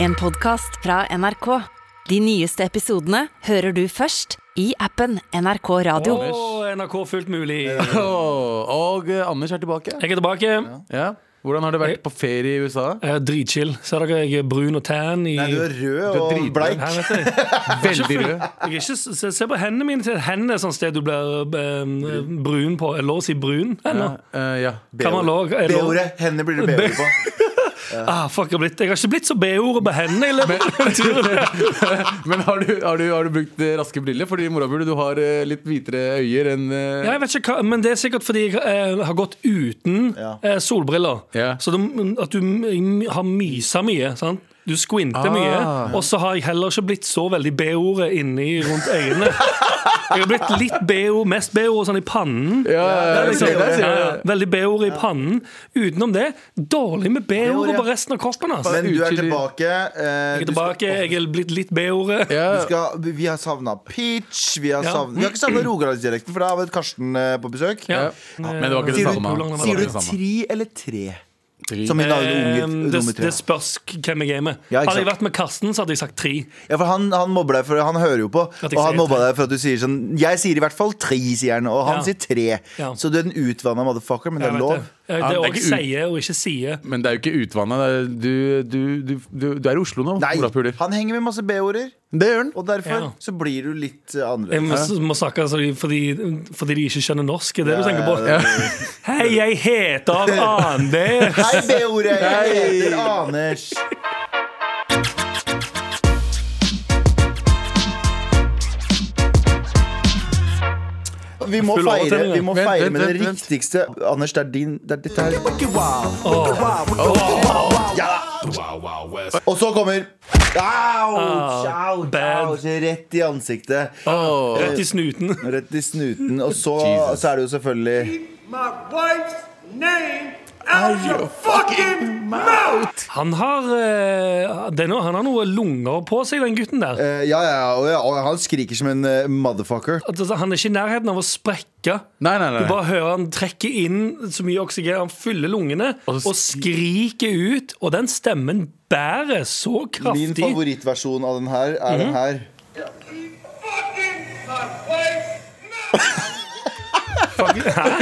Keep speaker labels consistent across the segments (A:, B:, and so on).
A: En podcast fra NRK. De nyeste episodene hører du først i appen NRK Radio.
B: Åh, NRK fullt mulig. Jeg
C: Åh, og eh, Anders er tilbake.
B: er tilbake.
C: Ja. Hvordan har det vært på ferie i USA?
B: Jeg er dritchill. Ser dere, jeg er brun og tan. I...
D: Nei, du er
C: Du
D: rød
C: er
D: og
C: dritbleik.
D: bleik.
B: Her, vet jeg.
C: Veldig rød.
B: Jeg er ikke, se, se på hendene mine. til- Hendene er sånn sted du blir eh, brun på. Er lov å si brun?
C: Ja,
B: Eller?
C: eh, ja.
B: Kan man lov? Er lov?
D: B-ordet. Hendene blir det B-ord på.
B: Ah, fuck, jeg, har blitt. jeg har ikke blitt så B-ordet på hendene. Eller?
C: Men har du, har, du, har du brukt eh, raske briller? Fordi morapule, du har eh, litt hvitere øyer enn eh,
B: Ja, jeg vet ikke hva, men det er sikkert fordi jeg eh, har gått uten
D: Ja.
B: eh, solbriller.
C: Ja.
B: Så det, at du m- har mysa mye. Sant? Du squinter
C: Ah.
B: mye. Og så har jeg heller ikke blitt så veldig B-ordet inni rundt øynene. Jeg har blitt litt BO, mest BO sånn i pannen.
C: Ja, ja,
B: Det
C: ja,
B: er liksom-
C: ser det,
B: ja,
C: ser
B: ja.
C: det.
B: Veldig BO i pannen. Utenom det, dårlig med
D: B-ord,
B: BO
D: ja.
B: på resten av kroppen. ass.
D: Men du er
C: Utydelig.
D: tilbake. eh,
B: Jeg er
D: du skal-
B: tilbake, jeg er blitt litt B-ordet.
C: Ja,
D: Du skal, vi har savna Peach. Vi har,
B: Ja.
D: savnet, vi har ikke savna Rogalandsdialekten, for da har vi Karsten eh, på besøk.
B: Ja.
C: ja. Men det var ikke det
D: Sier
B: du-
C: samme. Det
D: Sier
C: var
D: du
C: ikke det samme.
D: tri eller tre? Som i dag
B: Eh,
D: unge,
B: det,
D: dumme tre.
B: det spørs hvem jeg er med.
D: Ja, ikke
B: hadde jeg
D: sant.
B: vært med Karsten, så hadde jeg sagt tre.
D: Ja, for han, han mobber deg, for han hører jo på.
B: At jeg
D: Og han
B: sier
D: mobba
B: tre.
D: deg for at du sier sånn Jeg sier i hvert fall tre, sier han, og han
B: Ja.
D: sier tre.
B: Ja.
D: Så du er en utvanna motherfucker, men det
B: Jeg
D: er
B: vet
D: lov.
B: det. Eh, Det
C: Ja, det
B: er
C: er
B: òg
C: ikke ut-
B: sier og ikke sier.
C: Men det er jo ikke utvanna. Du, du, du, du, du er i Oslo nå,
D: Nei,
C: morapuler.
D: han henger med masse B-order,
C: Det gjør han.
D: og derfor
B: Ja.
D: så blir du litt eh,
B: Jeg må,
D: annerledes.
B: må snakke altså, fordi, fordi de ikke skjønner norsk. Er det du tenker på?
D: ja,
B: Hei, jeg heter Anders!
D: Hei, B-ordet! Jeg heter Anders. Vi må
B: Full
D: feire,
B: overtenning,
D: vi må
C: ja. Vent,
D: feire
C: vent,
D: med det
C: vent, vent.
D: riktigste. Anders, det er din. Det er ditt her. Ja da. Og så kommer
C: Ah,
D: Au! Au,
B: bad.
D: au, Rett i ansiktet.
C: Åh.
B: Rett i snuten.
D: Rett i snuten. Og så,
C: Ah. Jesus.
D: så er det jo selvfølgelig
E: my wife's name out of your fucking mouth.
B: Han har, eh, det er noe, han har noe lunger på seg, den gutten der.
D: eh, Ja, ja, og ja, og han skriker som en eh, motherfucker.
B: Altså, han er ikke i nærheten av å sprekke.
C: Nei, nei, nei.
B: Du bare hører han trekke inn så mye oksygen, han fyller lungene
C: Og så
B: og skriker ut. Og den stemmen bærer så
D: Min
B: kraftig. Mhm.
D: favorittversjon av den her er den her.
E: Fucking my wife's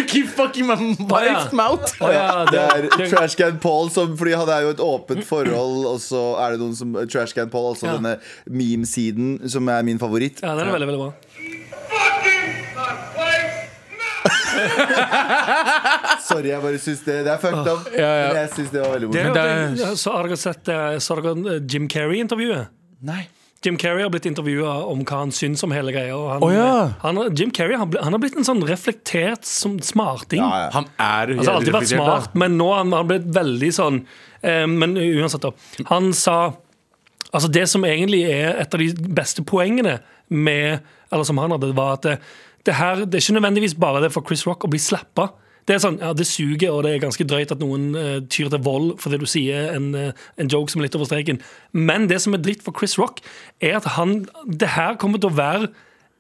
C: Keep fucking my
B: wife's
C: mouth.
B: Å, ja, det,
D: Det
B: Mm.
D: er Trashcan Paul, som, fordi han er jo et åpent forhold, og så er det noen som Trashcan Paul, altså
B: Ja.
D: denne meme-siden, som er min favoritt.
B: ja, den er veldig, veldig bra.
E: fucking my wife's mouth.
D: Sorry, jeg bare syns det, det er fucked up.
C: ja.
D: Men jeg syns det var veldig
B: Det,
D: morsomt.
C: det
B: ja, så har dere sett eh, så har dere eh, Jim Carrey-intervjuet?
D: Nei.
B: Jim Carrey har blitt intervjua om hva han syns om hele greia. Og han, eh,
C: Å, ja.
B: han, Jim Carrey han, ble- han har blitt en sånn reflektert som smarting.
D: Ja, ja.
C: Han er
B: Altså, alltid vært smart, men nå har han, han blitt veldig sånn eh, Men uansett, da. Han sa Altså, det som egentlig er et av de beste poengene med Eller som han hadde, var at det, det her Det er ikke nødvendigvis bare det for Chris Rock å bli slappa. Det er sånn, ja, det suger, og det er ganske drøyt at noen eh, tyr til vold fordi du sier en, eh, en joke som er litt over streken. Men det som er dritt for Chris Rock, er at han Det her kommer til å være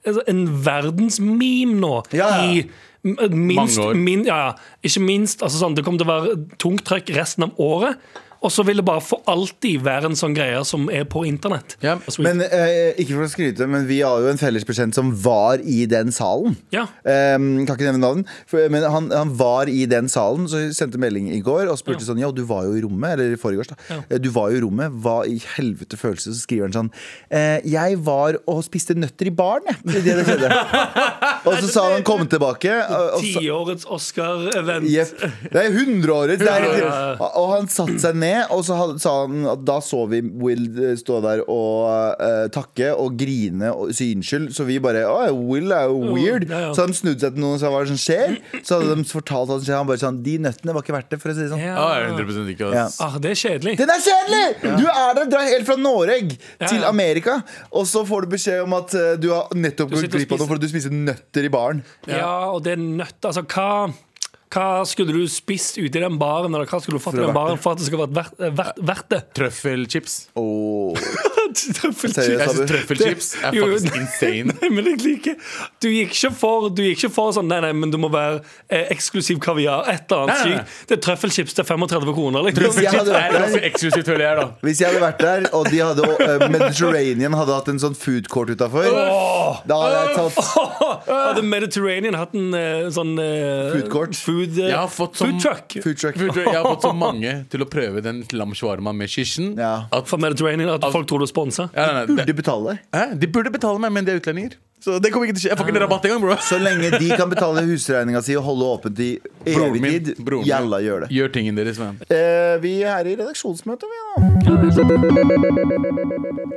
B: altså, en verdensmeme nå.
D: Ja, ja.
B: I m- minst,
C: Mange år.
B: min, ja, ja. Ikke minst, altså sånn, det kommer til å være tungt trøkk resten av året. Og så vil det bare for alltid være en sånn greie som er på internett. Altså,
C: Ja.
B: Og så-
D: Men eh, ikke for å skryte, men vi har jo en fellesbetjent som var i den salen.
B: ja.
D: Um, kan ikke nevne navn, for, men han, han var i den salen, så jeg sendte melding i går og spurte sånn Ja, du var jo i rommet, eller i forgårs, da. Eh,
B: Ja.
D: Du var jo i rommet, hva i helvete følelse? Så skriver han sånn eh, Jeg var og spiste nøtter i baren, jeg. Det er det som skjedde. og så sa han han kom tilbake. Og, og så,
B: Tiårets Oscar-event.
D: Jepp. Det er hundreåret. Det er,
B: Ja, ja, ja.
D: og han satte seg ned, og så ha- sa han at da så vi Will eh, stå der og eh, takke og grine og si unnskyld, så vi bare Å, Will er jo weird.
B: ja, ja.
D: Så de snudde seg til noen og sa hva er det som skjer. Så hadde de fortalt hva som skjer. Han bare sånn De nøttene var ikke verdt det, for å si det sånn.
B: Ja.
C: Ja, jeg er 100 ikke ass.
B: Ah, det er kjedelig.
D: Den er kjedelig! Du er der, drar helt fra Noreg
B: Ja,
D: til
B: ja.
D: Amerika, og så får du beskjed om at eh, du har nettopp
B: Du
D: gått
B: sitter og
D: glipp av noe
B: spiser-
D: fordi du spiser nøtter i baren.
B: Ja, og det er nøtt Altså, hva Hva skulle du spist ute i den baren, eller hva skulle du fått i
D: det
B: den
D: vært
B: baren for at det skal være verdt, verdt, verdt det?
C: Trøffelchips.
D: Åh,
B: Trøffelchips.
D: Seriøst,
C: Jeg synes
D: Tabu.
C: trøffelchips er
B: Jo,
C: faktisk
B: nei.
C: insane.
B: Nei, men jeg liker Du gikk ikke for, du gikk ikke for sånn Nei, nei, men det må være eh, eksklusiv kaviar. Et eller annet
C: Nei, nei, nei.
B: sykt. Det er trøffelchips til 35 kroner. Liksom.
D: Jeg hadde-
C: Trøffelchips er ganske eksklusivt, føler jeg, da.
D: Hvis jeg hadde vært der, og de hadde, og, eh, Mediterranean hadde hatt en sånn food court utafor, da hadde jeg tatt
B: Hadde Mediterranean hatt en eh, sånn eh,
D: Food court.
B: Food, eh,
C: Jeg har fått sånn som-
B: food truck.
D: food truck.
C: Vet du, Jeg har fått så mange til å prøve den lam shawarma med kirsen.
D: Ja.
C: At,
B: For Mediterranean at folk tror du sponser.
C: ja, nei, nei,
D: Burde
C: det,
D: de betale?
C: hæ? de burde betale meg, men de er utlendinger. Så det kommer ikke til å skje. Jeg får ikke rabatt engang, bro.
D: Så lenge de kan betale husregninga si og holde åpent i evig
C: Broren min,
D: tid,
C: broren min.
D: jalla gjør det.
C: Gjør tingen deres, man.
D: Eh, vi er i redaksjonsmøte, vi, da.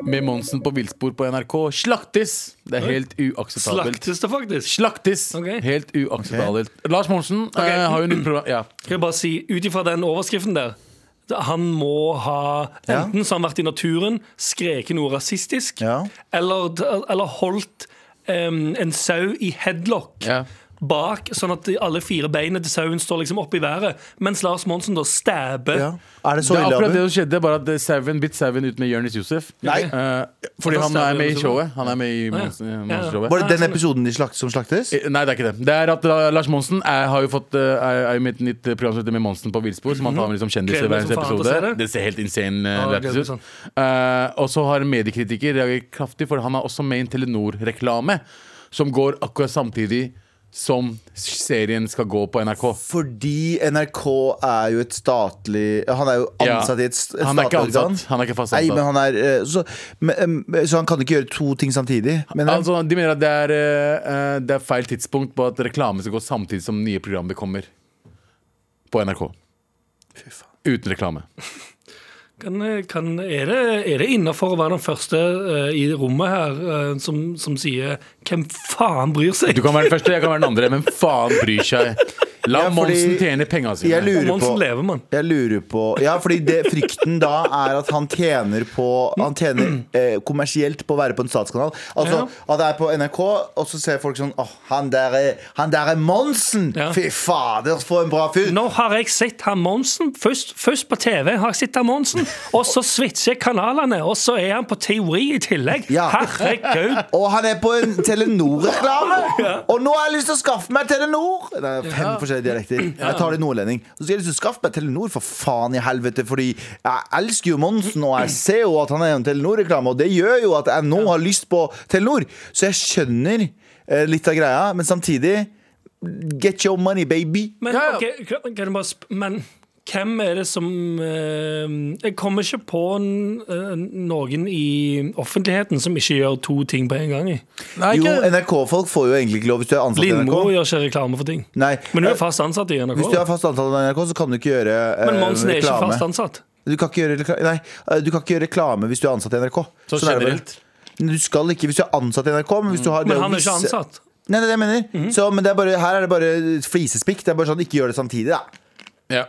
C: Med Monsen på villspor på NRK. Slaktes! Det er helt uakseptabelt.
B: Slaktes det faktisk.
C: Slaktes!
B: Ok.
C: Helt uakseptabelt. Lars Monsen eh, har jo nytt program. Ja.
B: Skal jeg bare si, ut ifra den overskriften der han må ha Enten så har han vært i naturen, skreket noe rasistisk,
D: Ja.
B: eller, eller holdt em, en sau i headlock
C: Ja.
B: bak, sånn at de- alle fire beina til sauen står liksom opp i været, mens Lars Monsen da stabber.
D: Ja. Er det så
C: det er
D: ille,
C: akkurat det
D: Abu?
C: som skjedde, bare at eh, sauen bitt sauen ut med Jonis Josef.
D: Nei.
C: Eh, fordi
B: Da
C: han
B: stabber
C: er med i
B: Jonis Josef.
C: showet. Han er med i Monsen-
B: ja.
C: Monsen-showet.
D: Var det den episoden de slakt, som slaktes?
C: Eh, Nei, det er ikke det. Det er at eh, Lars Monsen er, har jo fått, eh, er, er jo mitt nytt program som heter Med Monsen på villspor. Som han tar med liksom kjendiser
B: Gleder
C: hver
B: meg Mhm. som
C: eneste
B: faen til å se
C: episode. Det.
B: det.
C: ser helt insane eh,
B: Ja,
C: lættis
B: gleder meg
C: ut. Eh, og så har en mediekritiker reagert kraftig, for han er også med i en Telenor-reklame som går akkurat samtidig som serien skal gå på NRK.
D: Fordi NRK er jo et statlig Han er jo
C: Ja.
D: ansatt i et, st- et
C: Han er ikke
D: statlig organ.
C: ansatt. Han er ikke fast
D: Nei, men
C: ansatt.
D: han er eh, så, men, eh, så han kan ikke gjøre to ting samtidig? Men
C: Altså, de mener at det er, eh, eh, det er feil tidspunkt på at reklame skal gå samtidig som nye programmer kommer på NRK. Uten reklame.
B: Kan, kan, er det, er det innafor å være den første eh, i rommet her eh, som, som sier 'hvem faen bryr seg'?
C: Du kan være den første, jeg kan være den andre, men faen bryr seg. La
D: Ja, fordi-
C: Monsen tjene penga
D: jeg
C: sine.
D: lurer på
B: Monsen lever, mann.
D: Jeg lurer på Ja, fordi det, frykten da er at han tjener på Han tjener eh, kommersielt på å være på en statskanal. Altså
B: Ja.
D: at det er på NRK, og så ser folk sånn Åh, han der er, han der er Monsen!
B: Ja.
D: Fy fader, for en bra fyr!
B: Nå har jeg sett han Monsen. Først, først på TV har jeg sett han Monsen, og så switcher jeg kanalene, og så er han på teori i tillegg.
D: Ja.
B: Herregud.
D: Og han er på en Telenor-reklame! Og nå har jeg lyst til å skaffe meg Telenor! Det er fem forskjellige dialekter. Jeg tar det i nordlending. Og så har jeg lyst til å skaffe meg Telenor, for faen i helvete, fordi jeg elsker jo Monsen, og jeg ser jo at han er en Telenor-reklame, og det gjør jo at jeg nå har lyst på Telenor. Så jeg skjønner eh, litt av greia, men samtidig Get your money, baby.
B: Men,
C: Ja, ja.
B: ok, kan kan jeg bare sp men hvem er det som eh, Jeg kommer ikke på n eh, noen i offentligheten som ikke gjør to ting på en gang. i.
C: Nei,
D: Jo,
C: ikke.
D: NRK-folk får jo egentlig ikke lov hvis du er ansatt i
B: Lindmo
D: NRK.
B: gjør ikke reklame for ting.
D: Nei,
B: Men hun
D: eh,
B: er fast ansatt i NRK.
D: hvis du er fast ansatt i NRK, så kan du ikke gjøre eh,
B: Men Monsen er ikke
D: reklame.
B: fast ansatt.
D: Du kan ikke gjøre reklame, nei, eh, du kan ikke gjøre reklame hvis du er ansatt i NRK.
C: Så
D: Sånn er det bare.
C: generelt. Mm.
D: Men Du skal ikke hvis du er ansatt i NRK, men hvis du har det
B: Men
D: å
B: han er ikke
D: vise-
B: ansatt.
D: Nei, det er det jeg mener.
C: Mhm.
D: så, men det er bare, her er det bare flisespikk. Det er bare sånn, ikke gjør det samtidig, da.
C: Ja.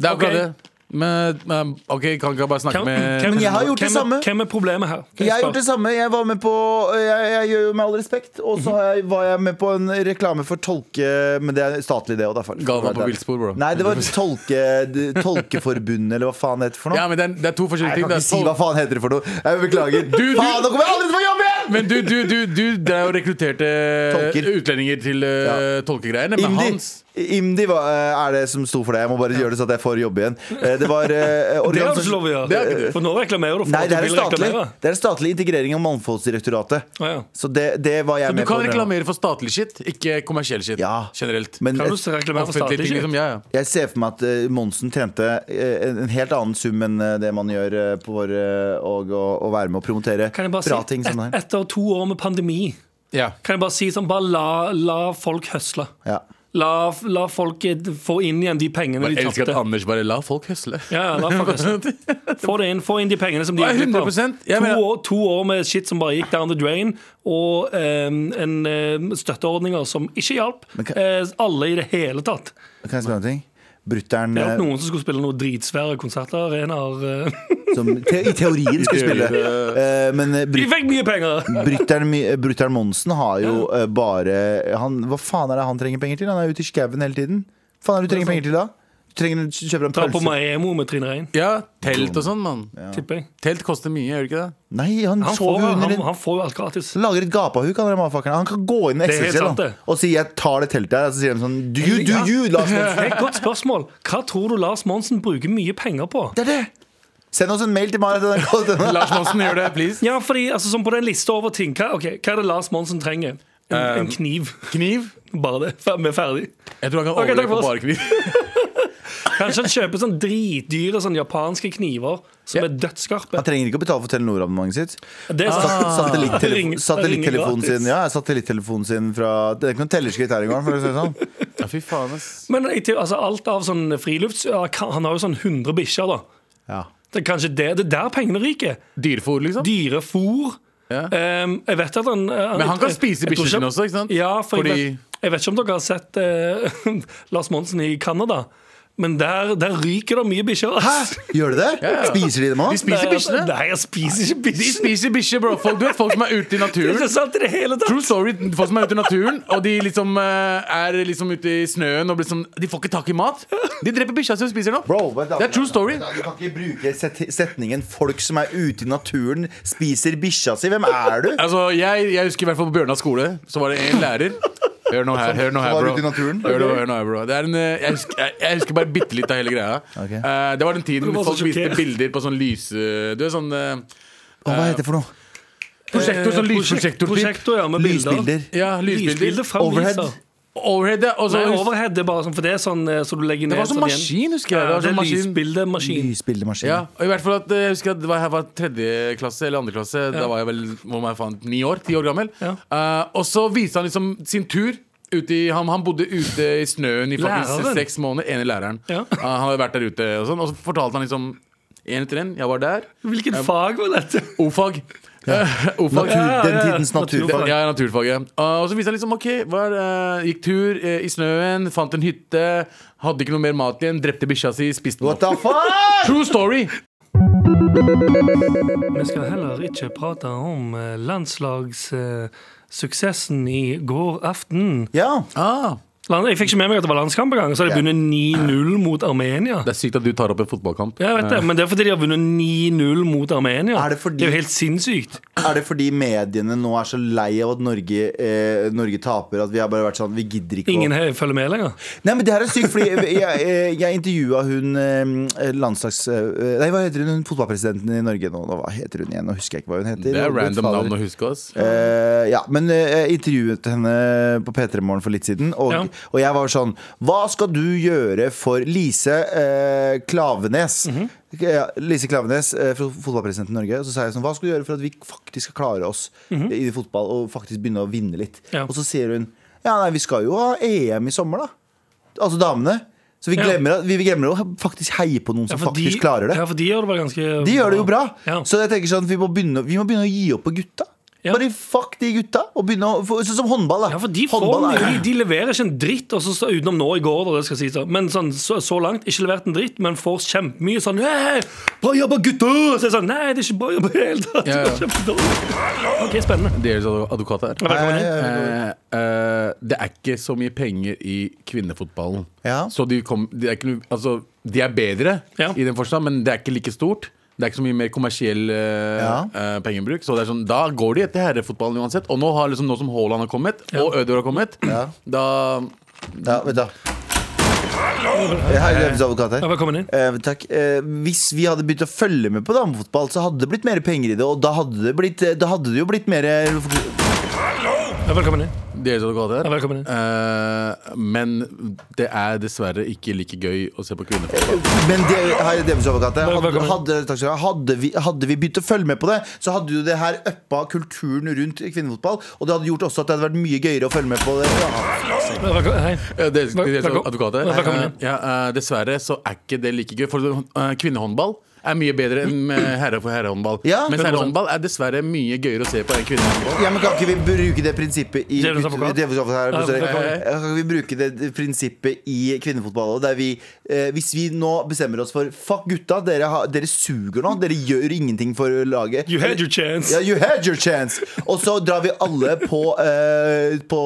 C: Det er
B: Ok.
C: akkurat det. Men, men OK, kan ikke jeg bare snakke
B: Hvem,
C: med
B: hvem-
D: Men jeg har gjort det
B: hvem er-
D: samme.
B: Hvem er problemet her? Kan
D: Jeg har
B: spørre?
D: gjort det samme. Jeg var med på Jeg, jeg gjør jo med all respekt. Og
C: Mhm.
D: så har jeg- var jeg med på en reklame for tolke Men det er statlig, det òg, da. for-
C: Galvan på villspor, bro.
D: Nei, det var tolke, Tolkeforbundet, eller hva faen det heter for noe.
C: Ja, men det er, det er to
D: Nei,
C: forskjellige
D: jeg
C: ting.
D: kan
C: Det
D: ikke
C: er
D: si hva
C: tolv-
D: faen heter det for noe. Jeg beklager.
C: du-
D: Faen, nå kommer jeg aldri til å få jobb igjen!
C: Men du, du, du, du drev og rekrutterte
D: Tolker.
C: utlendinger til eh, tolkegreiene. Men
D: IMDi,
C: hans
D: IMDi var, eh, er det som sto for det. Jeg må bare gjøre det så at jeg får jobbe igjen. Eh, Det var eh,
B: Det har du ikke
D: organisasjon-
B: lov å gjøre.
C: Det er ikke det.
B: For nå reklamerer du for
D: Nei,
B: at
D: det
B: du
D: er
B: vil
D: statlig.
B: reklamere.
D: Det er statlig integrering av Mangfoldsdirektoratet.
B: Å, ja.
D: Så det, det var jeg
C: Du
D: med
C: kan
D: på.
C: reklamere for statlig shit, ikke kommersiell shit.
D: Ja.
C: Generelt.
D: Men
B: Kan du s- reklamere for
C: Offentlig
B: statlig
C: ting,
B: shit?
C: liksom. Ja, ja.
D: jeg ser for meg at eh, Monsen tjente eh, en en helt annen sum enn eh, det man gjør eh, på vår, eh, og, å- å være med å promotere
B: Kan jeg bare
D: bra
B: si,
D: ting som det
B: et,
D: her.
B: etter to år med pandemi,
C: ja.
B: kan jeg bare si sånn, bare la, la folk høsle.
D: Ja.
B: La, la folk eh, få inn igjen de pengene
C: Bare
B: de
C: elsker at
B: tapte.
C: Anders bare la folk høsle.
B: Ja, ja, la folk høsle. Få det inn, få inn de pengene som de
C: Ja,
B: gikk glipp av.
C: 100%. Jeg mener-
B: To, år- to år med shit som bare gikk down the drain, og eh, en, eh, støtteordninger som ikke hjalp
D: Men kan-
B: eh, alle i det hele tatt.
D: Kan jeg spørre om en ting? Brutter'n
B: Det hjalp
D: eh,
B: noen som skulle spille noen dritsvære konsertarenaer. eh.
D: som te i teorien skulle spille. Eh, Men eh,
B: De
D: Bryt-
B: fikk mye penger!
D: Brutter'n Mi- Brutter'n eh, Monsen har jo eh, bare han, Hva faen er det han trenger penger til? Han er ute i skauen hele tiden. faen er det du trenger penger til da? Du trenger, kjøper en
B: Dra på
D: pølse.
B: Maemo med Trine Rein,
C: Ja, telt og sånn, mann.
B: tipper jeg.
C: Telt koster mye, gjør det ikke det?
D: Nei, han,
B: Han får,
D: sover jo under
B: han,
D: en
B: han får jo alt gratis.
D: Lager et gapahuk av den matfakkeren. Han kan gå inn i
B: Det er helt sant,
D: XXL da,
B: det.
D: og si 'jeg tar det teltet her', og så sier de sånn Do you, do you, Lars Monsen?
B: Det er et godt spørsmål. Hva tror du Lars Monsen bruker mye penger på?
D: Det er det! Send oss en mail til Marit. og den kan du-
C: Lars Monsen, gjør det, please.
B: Ja, fordi altså, som på den lista over ting Hva, ok, hva er det Lars Monsen trenger? En, en kniv.
C: Kniv.
B: Bare det. Fer- Vi er ferdig.
C: Jeg tror han kan
B: Ok, takk
C: overleve
B: for
C: på
B: oss.
C: bare kniv.
B: Kanskje han kjøper sånn dritdyre sånn japanske kniver som er dødsskarpe.
D: Han trenger ikke å betale for Telenor-abonnementet sitt.
B: Det er sånn
D: Ah. Satellittelefon-
B: Ring-
D: Satellittelefonen
B: ring
D: sin Ja, satellittelefonen sin fra Det er ikke noen tellerskritt her engang, for å si det sånn.
C: Ja, fy faen, ass.
B: Men i til- altså, alt av sånn frilufts ja, kan- Han har jo sånn 100 bikkjer, da.
D: Ja.
B: Det er kanskje det, det er der pengene ryker.
C: Dyrefôr, liksom.
B: Dyrefôr.
C: Ja.
B: Ehm, jeg vet at han eh,
C: Men han kan
B: jeg-
C: spise
B: jeg tror
C: bikkjene
B: ikke-
C: sine også, ikke sant?
B: Ja, for
C: Fordi-
B: jeg, vet, jeg vet ikke om dere har sett eh, Lars Monsen i Canada, men der, der ryker det mye bikkjer. ass.
D: Gjør de det? Spiser de dem
C: De
D: òg?
C: spiser
B: Nei,
C: bikkjene.
B: Nei, jeg spiser ikke
C: De
B: bikkjer.
C: spiser bikkjer, bro. Folk, du vet, folk som er
B: Det
C: ute i
B: er
C: naturen.
B: ikke sant i det hele tatt.
C: True story, folk som er ute i naturen, og de liksom eh, er liksom ute i snøen og blir sånn- De får ikke tak i mat. De dreper bikkja si og spiser den opp.
D: Bro, vent da.
C: Det er true story.
D: Du kan ikke bruke set- setningen 'folk som er ute i naturen, spiser bikkja si'. Hvem er du?
C: Altså, jeg, jeg husker i hvert fall på Bjørnar skole, så var det en lærer. Hør nå her, hør nå her,
D: var
C: bro.
D: ute i naturen.
C: Hør nå, hør nå her, bro. Det er en, eh, jeg, husker, jeg, jeg husker bare bitte litt av hele greia.
D: Ok.
C: Eh, det var den tiden
B: Du var så
C: folk viste
B: sjokkert.
C: bilder på sånn lyse... Du er sånn eh,
D: Å, hva heter det for noe?
C: prosjektor, sånn
B: Eh,
C: lysprosjektor-typ.
B: Prosjektor, ja, med bilder.
D: Lysbilder.
C: Ja,
B: Lysbilder
C: lysbilder.
B: fra
D: Overhead.
B: Misa.
C: Overhead, ja. Og så
B: Nei, overhead er bare sånn, for det er sånn eh, så du legger ned
C: Det var sånn
B: igjen.
C: maskin, husker
B: Ja,
C: jeg. Det var
B: det
C: sånn
B: er
C: maskin.
B: lysbildemaskin.
D: Lysbildemaskin.
C: Ja, og i hvert fall at eh, Jeg husker at det var, jeg var tredje klasse eller andre klasse. Da var jeg vel hvor var jeg faen, ni år, ti år gammel.
B: Ja.
C: Eh, og så viste han liksom sin tur. Ute i, han, han bodde ute i snøen i faktisk
B: Læreren?
C: seks måneder. Ene læreren.
B: Ja.
C: Eh, han hadde vært der ute, og sånn Og så fortalte han liksom én etter én. Jeg var der.
B: Hvilket fag var dette?
C: O-fag. Eh, O-fag.
D: Natur,
B: Ja, ja,
D: den
B: ja.
D: tidens naturfag.
B: Naturfag.
C: Ja, naturfaget. Uh, og så viste han liksom OK, var, eh, gikk tur eh, i snøen, fant en hytte. Hadde ikke noe mer mat igjen, drepte bikkja si, spiste den
D: What
C: opp.
D: the fuck?
C: True story!
B: Vi skal heller ikke prate om landslagssuksessen i går aften.
D: Ja.
C: Ah,
B: Jeg fikk ikke med meg at det var landskamp i gang, så har de vunnet 9-0 mot Armenia.
C: det er sykt at du tar opp en fotballkamp. Eh,
B: Ja, jeg vet det, men det er fordi de har vunnet 9-0 mot Armenia.
D: Er det fordi-
B: er jo helt sinnssykt.
D: Er det fordi mediene nå er så lei av at Norge, eh, Norge taper, at vi har bare vært sånn Vi gidder ikke
B: Ingen
D: å
B: her følger med lenger.
D: Nei, men det her er sykt, fordi jeg, jeg, jeg intervjua hun eh, landslags... eh, Nei, hva heter hun? hun fotballpresidenten i Norge nå? nå? Hva heter hun igjen? Nå husker jeg ikke hva hun heter.
C: Det er random
D: Fader.
C: navn å huske, ass.
D: Eh, ja, men eh, jeg intervjuet henne på P3 Morgen for litt siden, og,
B: Ja.
D: og jeg var sånn Hva skal du gjøre for Lise eh, Klavenes?
B: Mhm.
D: Ja, Lise Klavenes, eh, fra fotballpresidenten i Norge. Og så sa jeg sånn Hva skal du gjøre for at vi faktisk skal klare oss i fotball og faktisk begynne å vinne litt?
B: Mhm. Ja.
D: Og så sier hun Ja, nei, vi skal jo ha EM i sommer, da. Altså damene. Så vi
B: Ja.
D: glemmer, at- vi glemmer å faktisk heie på noen som
B: for
D: faktisk klarer det.
B: Ja, for de gjør det bare ganske
D: De gjør det jo bra.
B: Ja.
D: Så jeg tenker sånn, vi må begynne, vi må begynne å gi opp på gutta.
B: Ja.
D: Bare fuck de gutta. Og begynne å, for, sånn som håndball. Da.
B: Ja, for de, får,
D: håndball
B: de,
D: er,
B: de leverer ikke en dritt, og så, så- utenom nå i går, da, det skal sies. da. Men sånn, så, så langt ikke levert en dritt, men får kjempemye sånn «Hei, Bra jobba, gutter! Så er det sånn Nei, det er ikke bra jobba i det hele tatt.
C: Ja, ja.
B: Kjempedårlig. OK, spennende.
C: Deres adv- advokat her.
B: Velkommen inn.
D: Eh,
C: Eh, eh, det er ikke så mye penger i kvinnefotballen.
D: Ja.
C: Så de, kom, de, er ikke, noe- altså, de er bedre
B: Ja.
C: i den forstand, men det er ikke like stort. Det er ikke så mye mer kommersiell eh,
D: Ja.
C: eh, pengebruk. Så det er sånn, Da går de etter herrefotballen uansett. Og nå, har liksom, nå som Haaland har kommet, og Ødegaard har kommet,
D: Ja.
C: da
D: ja, vet du. Hei, det er Jens advokat
B: Ja,
D: her.
B: velkommen inn.
D: Eh, takk. Eh, hvis vi hadde begynt å følge med på damefotball, så hadde det blitt mer penger i det. Og da hadde det, blitt, eh, da hadde det jo blitt mer eh,
B: Ja, velkommen inn.
C: Deres advokat her.
B: Ja, velkommen inn.
C: Eh, men det er dessverre ikke like gøy å se på kvinnefotball.
D: Men det, hei, det er Jens advokat her. Hadde,
B: Velkommen.
D: hadde, takk skal du ha. hadde, vi, hadde vi begynt å følge med på det, så hadde jo det her uppa kulturen rundt kvinnefotball. Og det hadde gjort også at det hadde vært mye gøyere å følge med på det. Ja.
B: Ja, velkommen- Hei.
C: Ja, det, det, det,
B: Velkommen.
C: advokater.
B: Velkommen inn.
C: Eh, ja, eh, dessverre så er ikke det like gøy. For eh, kvinnehåndball er mye bedre enn eh, herre for herrehåndball.
D: Ja.
C: Mens
B: 100%.
C: herrehåndball er dessverre mye gøyere å se på enn kvinnehåndball.
D: Ja, men Kan ikke vi bruke det prinsippet i
B: Djevelens advokat.
D: Djevelens advokat her,
B: Ja,
D: sorry.
B: advokat.
D: Kan ikke vi bruke det prinsippet i kvinnefotball? også, Der vi, eh, hvis vi nå bestemmer oss for Fuck gutta, dere, har, dere suger nå. Dere gjør ingenting for laget.
B: You had your chance.
D: Ja, you had your chance Og så drar vi alle på, eh, på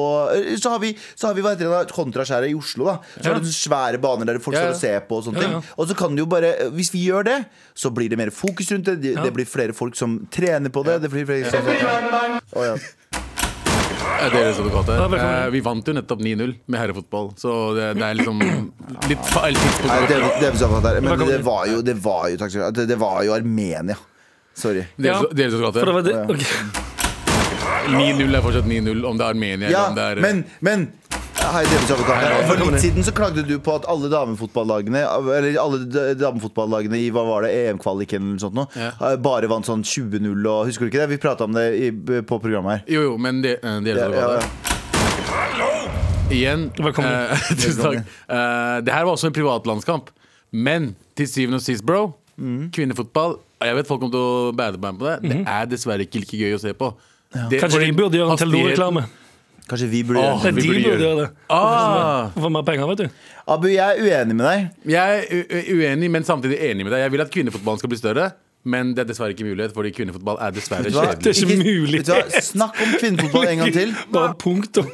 D: Så har vi, så har vi hva heter det da, kontraskjæret i Oslo da Så
B: Ja.
D: har du sånne svære baner der folk
C: Ja, ja.
D: står og ser på og sånne
B: Ja,
D: ting
B: ja.
D: Og så kan du jo bare, hvis vi gjør det Så blir det mer fokus rundt det Det, det blir flere folk som trener på det Det blir flere som Å, ja.
C: Er det som det
B: Ja, velkommen.
C: eh, vi vant jo nettopp 9-0 med herrefotball, så det, det er liksom litt feil tidspunkt.
D: Nei, det, det, er sånn at det er- Men
B: Velkommen.
D: det var jo, det var jo, takk skal du ha, det, det var jo Armenia Sorry
B: Ja,
C: Dere som- dere som skal
B: For det
C: til.
B: var det. ok.
C: 9-0 er fortsatt 9-0, om det er Armenia eller
D: Ja,
C: om det er eh,
D: men, men Hei, Davids advokat.
B: Hei,
D: For
B: velkommen
D: litt
B: inn.
D: siden så klagde du på at alle damefotballagene Eller alle d- damefotballagene i hva var det, EM-kvaliken eller noe sånt noe,
C: Ja.
D: eh, bare vant sånn 20-0 og Husker du ikke det? Vi prata om det i, på programmet her.
C: Jo, jo, men det, eh, dere
D: Ja,
C: som
D: ja,
C: skal
D: ja.
C: til. Igjen.
B: Velkommen.
C: eh, Tusen takk. Eh, det her var også en privatlandskamp. Men til syvende og sist, bro,
D: Mm.
C: kvinnefotball og Jeg vet folk kommer til å bære meg på det. Det er dessverre ikke like gøy å se på. Det-
B: Mhm. Kanskje de
C: fordi
B: burde gjøre en Telenor-reklame?
D: Kanskje vi burde gjøre
C: Åh.
B: Nei,
C: vi
B: de
C: burde
B: burde
C: gjøre det.
B: gjøre det.
C: Ah,
B: Få mer penger, vet du.
D: det. Abu, jeg er uenig med deg.
C: jeg er u- u- uenig, men samtidig enig med deg. Jeg vil at kvinnefotballen skal bli større. Men det er dessverre ikke mulighet, fordi kvinnefotball er dessverre
D: Vet du hva?
C: kjedelig.
B: Det er ikke mulig.
D: Vet du hva? Snakk om kvinnefotball en gang til.
B: Bare punktum.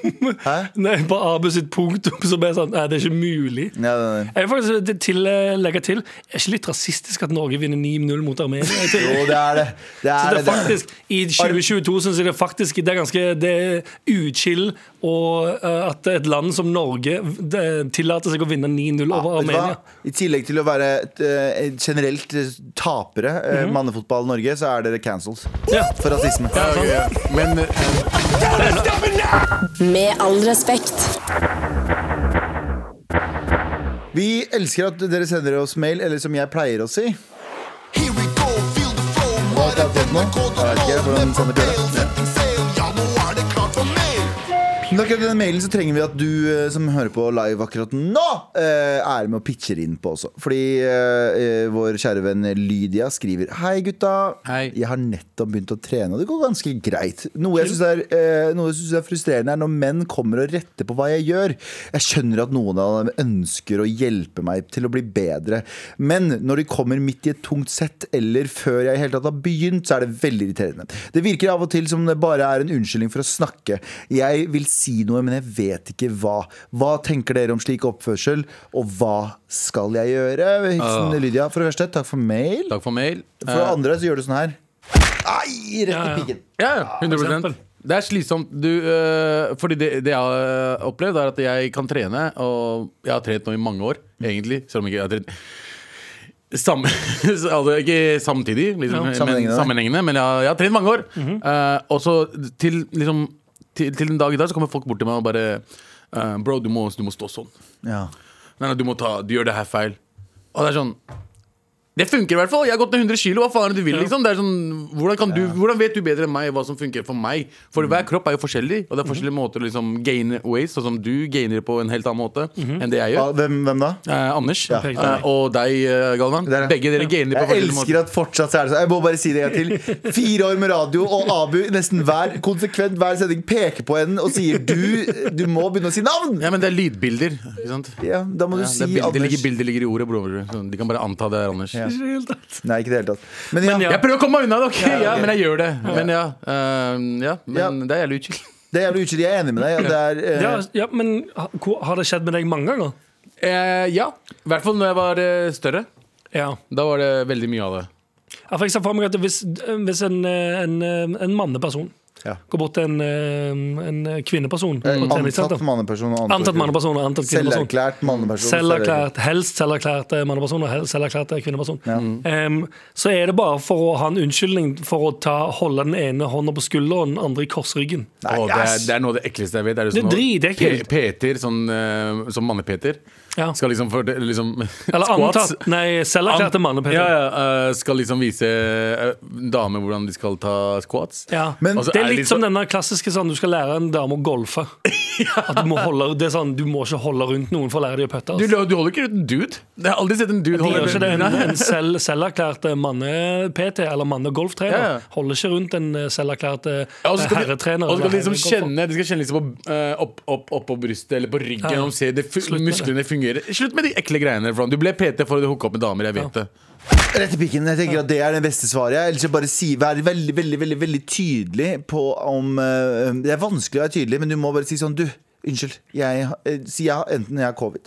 D: Hæ?
B: Nei, bare Abu sitt punktum som er sånn Nei, det er ikke mulig.
D: Ja, nei, nei.
B: Jeg vil faktisk til- til, eh, legge til Er ikke litt rasistisk at Norge vinner 9-0 mot Armenia? Jeg
D: Jo,
B: tenker-
D: det er det. Det
B: Så
D: er
B: det
D: det.
B: er faktisk, I 2022 syns jeg det er faktisk Det er ganske det er uchill og, eh, at et land som Norge det, tillater seg å vinne 9-0
D: Ja,
B: over
D: vet du hva?
B: Armenia.
D: I tillegg til å være eh, generelt eh, tapere, eh, mannefotball Norge, så er dere cancels.
B: Ja.
D: For rasisme.
C: Ja, ok, ja. Men eh,
F: Med all respekt.
D: Vi elsker at dere sender oss mail, eller som jeg pleier å si
G: Here we go, feel the flow.
D: Hva er det jeg har fått nå? Jeg vet ikke hvordan sånn det blir.
G: Ja, nå er det klart for mer.
D: Men akkurat i den mailen så trenger vi at du eh, som hører på live akkurat nå, eh, er med og pitcher inn på også. Fordi eh, eh, vår kjære venn Lydia skriver Hei, gutta.
C: Hei.
D: Jeg har nettopp begynt å trene, og det går ganske greit. Noe jeg syns er, eh, noe jeg synes er frustrerende, er når menn kommer og retter på hva jeg gjør. Jeg skjønner at noen av dem ønsker å hjelpe meg til å bli bedre, men når de kommer midt i et tungt sett, eller før jeg i hele tatt har begynt, så er det veldig irriterende. Det virker av og til som det bare er en unnskyldning for å snakke. Jeg vil si noe, men jeg vet ikke hva. Hva tenker dere om slik oppførsel, og hva skal jeg gjøre? Hilsen Lydia. For det første, takk for
C: Ah.
D: mail.
C: takk for mail.
D: For det
C: Eh,
D: andre så gjør du sånn her. Ai, rett
B: Ja,
D: i
B: ja.
D: piggen.
C: Ja, ja, 100
B: eksempel.
C: Det er slitsomt. Du, øh, fordi det, det jeg har eh, opplevd, er at jeg kan trene, og jeg har trent nå i mange år, egentlig. Selv om ikke jeg har trent Sam, altså ikke samtidig, liksom, men,
D: sammenhengende.
C: sammenhengende, men jeg, har- jeg har trent mange år. Eh, og så til, liksom, til, til en dag i dag så kommer folk bort til meg og bare eh, Bro, du må, du må stå sånn.
D: Ja.
C: Nei, nei, du må ta, du gjør det her feil Og det er sånn Det funker i hvert fall, jeg har gått ned 100 kilo Hva faen er det du vil liksom det er sånn, hvordan, kan du, hvordan vet du bedre enn meg hva som funker for meg
D: Mm.
C: For hver kropp er jo forskjellig Og det
D: Mhm.
C: er forskjellige måter å liksom gain ways Sånn som du gainer på en helt annen måte Enn det jeg
D: Hva,
C: gjør
D: hvem, hvem da?
C: Eh, Anders
B: Perfekt.
C: eh, og deg, eh, Galvan
D: Der, ja.
C: Begge dere gainer på
D: Jeg
C: forskjellige
D: elsker
C: måter
D: at fortsatt så er det sånn. Jeg må bare si det en gang til. Fire år med radio, og Abu nesten hver konsekvent hver sending peker på henne og sier du, du må begynne å si navn!
C: Ja, men det er lydbilder ikke sant?
D: Ja, da må
C: Ja,
D: du
C: det
D: si
C: er bilder,
D: Anders.
C: ligger, bilder ligger i ordet, bror Så De kan bare anta det er Anders
D: Ja.
B: Ikke i det hele tatt.
D: Nei, ikke i det hele tatt. Men ja,
B: Men ja.
C: Jeg prøver å komme meg unna det, ok, ja,
D: ok.
C: men jeg gjør det Men ja, eh, ja, men
D: Ja.
C: det er jævlig utkild
D: det er jævlig ukjent. Jeg er enig med deg. At det er, eh,
B: Ja, ja, men ha- hvor- har det skjedd med deg mange ganger?
C: Eh, ja, i hvert fall når jeg var eh, større.
B: Ja.
C: Da var det veldig mye av det.
B: Ja, for jeg ser for meg at hvis, hvis en, eh, en, en manneperson
D: Ja.
B: går bort til en, eh, en kvinneperson på
D: eh, Antatt
B: treningssenter
D: manneperson og
B: Antatt manneperson og antatt kvinneperson.
D: Selverklært manneperson.
B: Selverklært, helst selverklært manneperson og helst selverklært kvinneperson.
C: Mm.
B: Em, så er det bare for å ha en unnskyldning for å ta, holde den ene hånda på skulderen og den andre i korsryggen.
D: Nei,
C: Åh, det, er,
D: ass.
C: det er noe av det ekleste jeg vet. Er
B: Det
C: det
B: er
C: sånn noe-
B: dritekkelt.
C: Pe- Peter, sånn, eh, som manne-Peter,
B: Ja.
C: skal liksom, for, liksom
B: Eller
C: squats.
B: antatt Nei, selverklærte
C: An-
B: manneperson.
C: Ja, ja, eh, skal liksom vise eh, damer hvordan de skal ta squats.
B: Ja.
D: Men-
C: Og så
B: det er
C: er det
B: litt
C: litt
B: som
C: sånn-
B: denne klassiske sånn du skal lære en dame å golfe. At du må holde, det er sånn, du må ikke holde rundt noen for å lære dem å putte.
C: Du,
B: Altså.
C: du holder ikke ut en dude. Jeg har aldri sett en dude
B: De gjør ikke det. En,
C: Nei.
B: en selv, selverklært eh, manne-PT eller manne-golftrener
C: Ja, ja.
B: holder ikke rundt en eh, selverklært eh,
C: Ja, og så skal de,
B: herretrener.
C: og så skal de
B: eller
C: liksom
B: herregolfer.
C: kjenne De skal kjenne liksom på, eh, opp, opp, opp på brystet eller på ryggen.
B: Ja.
C: Og se det fu
B: Slutt med
C: musklene fungerer. Slutt med de ekle greiene. Ron. Du ble PT for å hooke opp med damer. Jeg vet det.
D: Rett i pikken. Jeg tenker at Det er det beste svaret. Jeg vil bare si, Vær veldig veldig, veldig, veldig tydelig på om eh, Det er vanskelig å være tydelig, men du må bare si sånn Du, unnskyld. Jeg, har- eh, si ja, enten jeg har covid.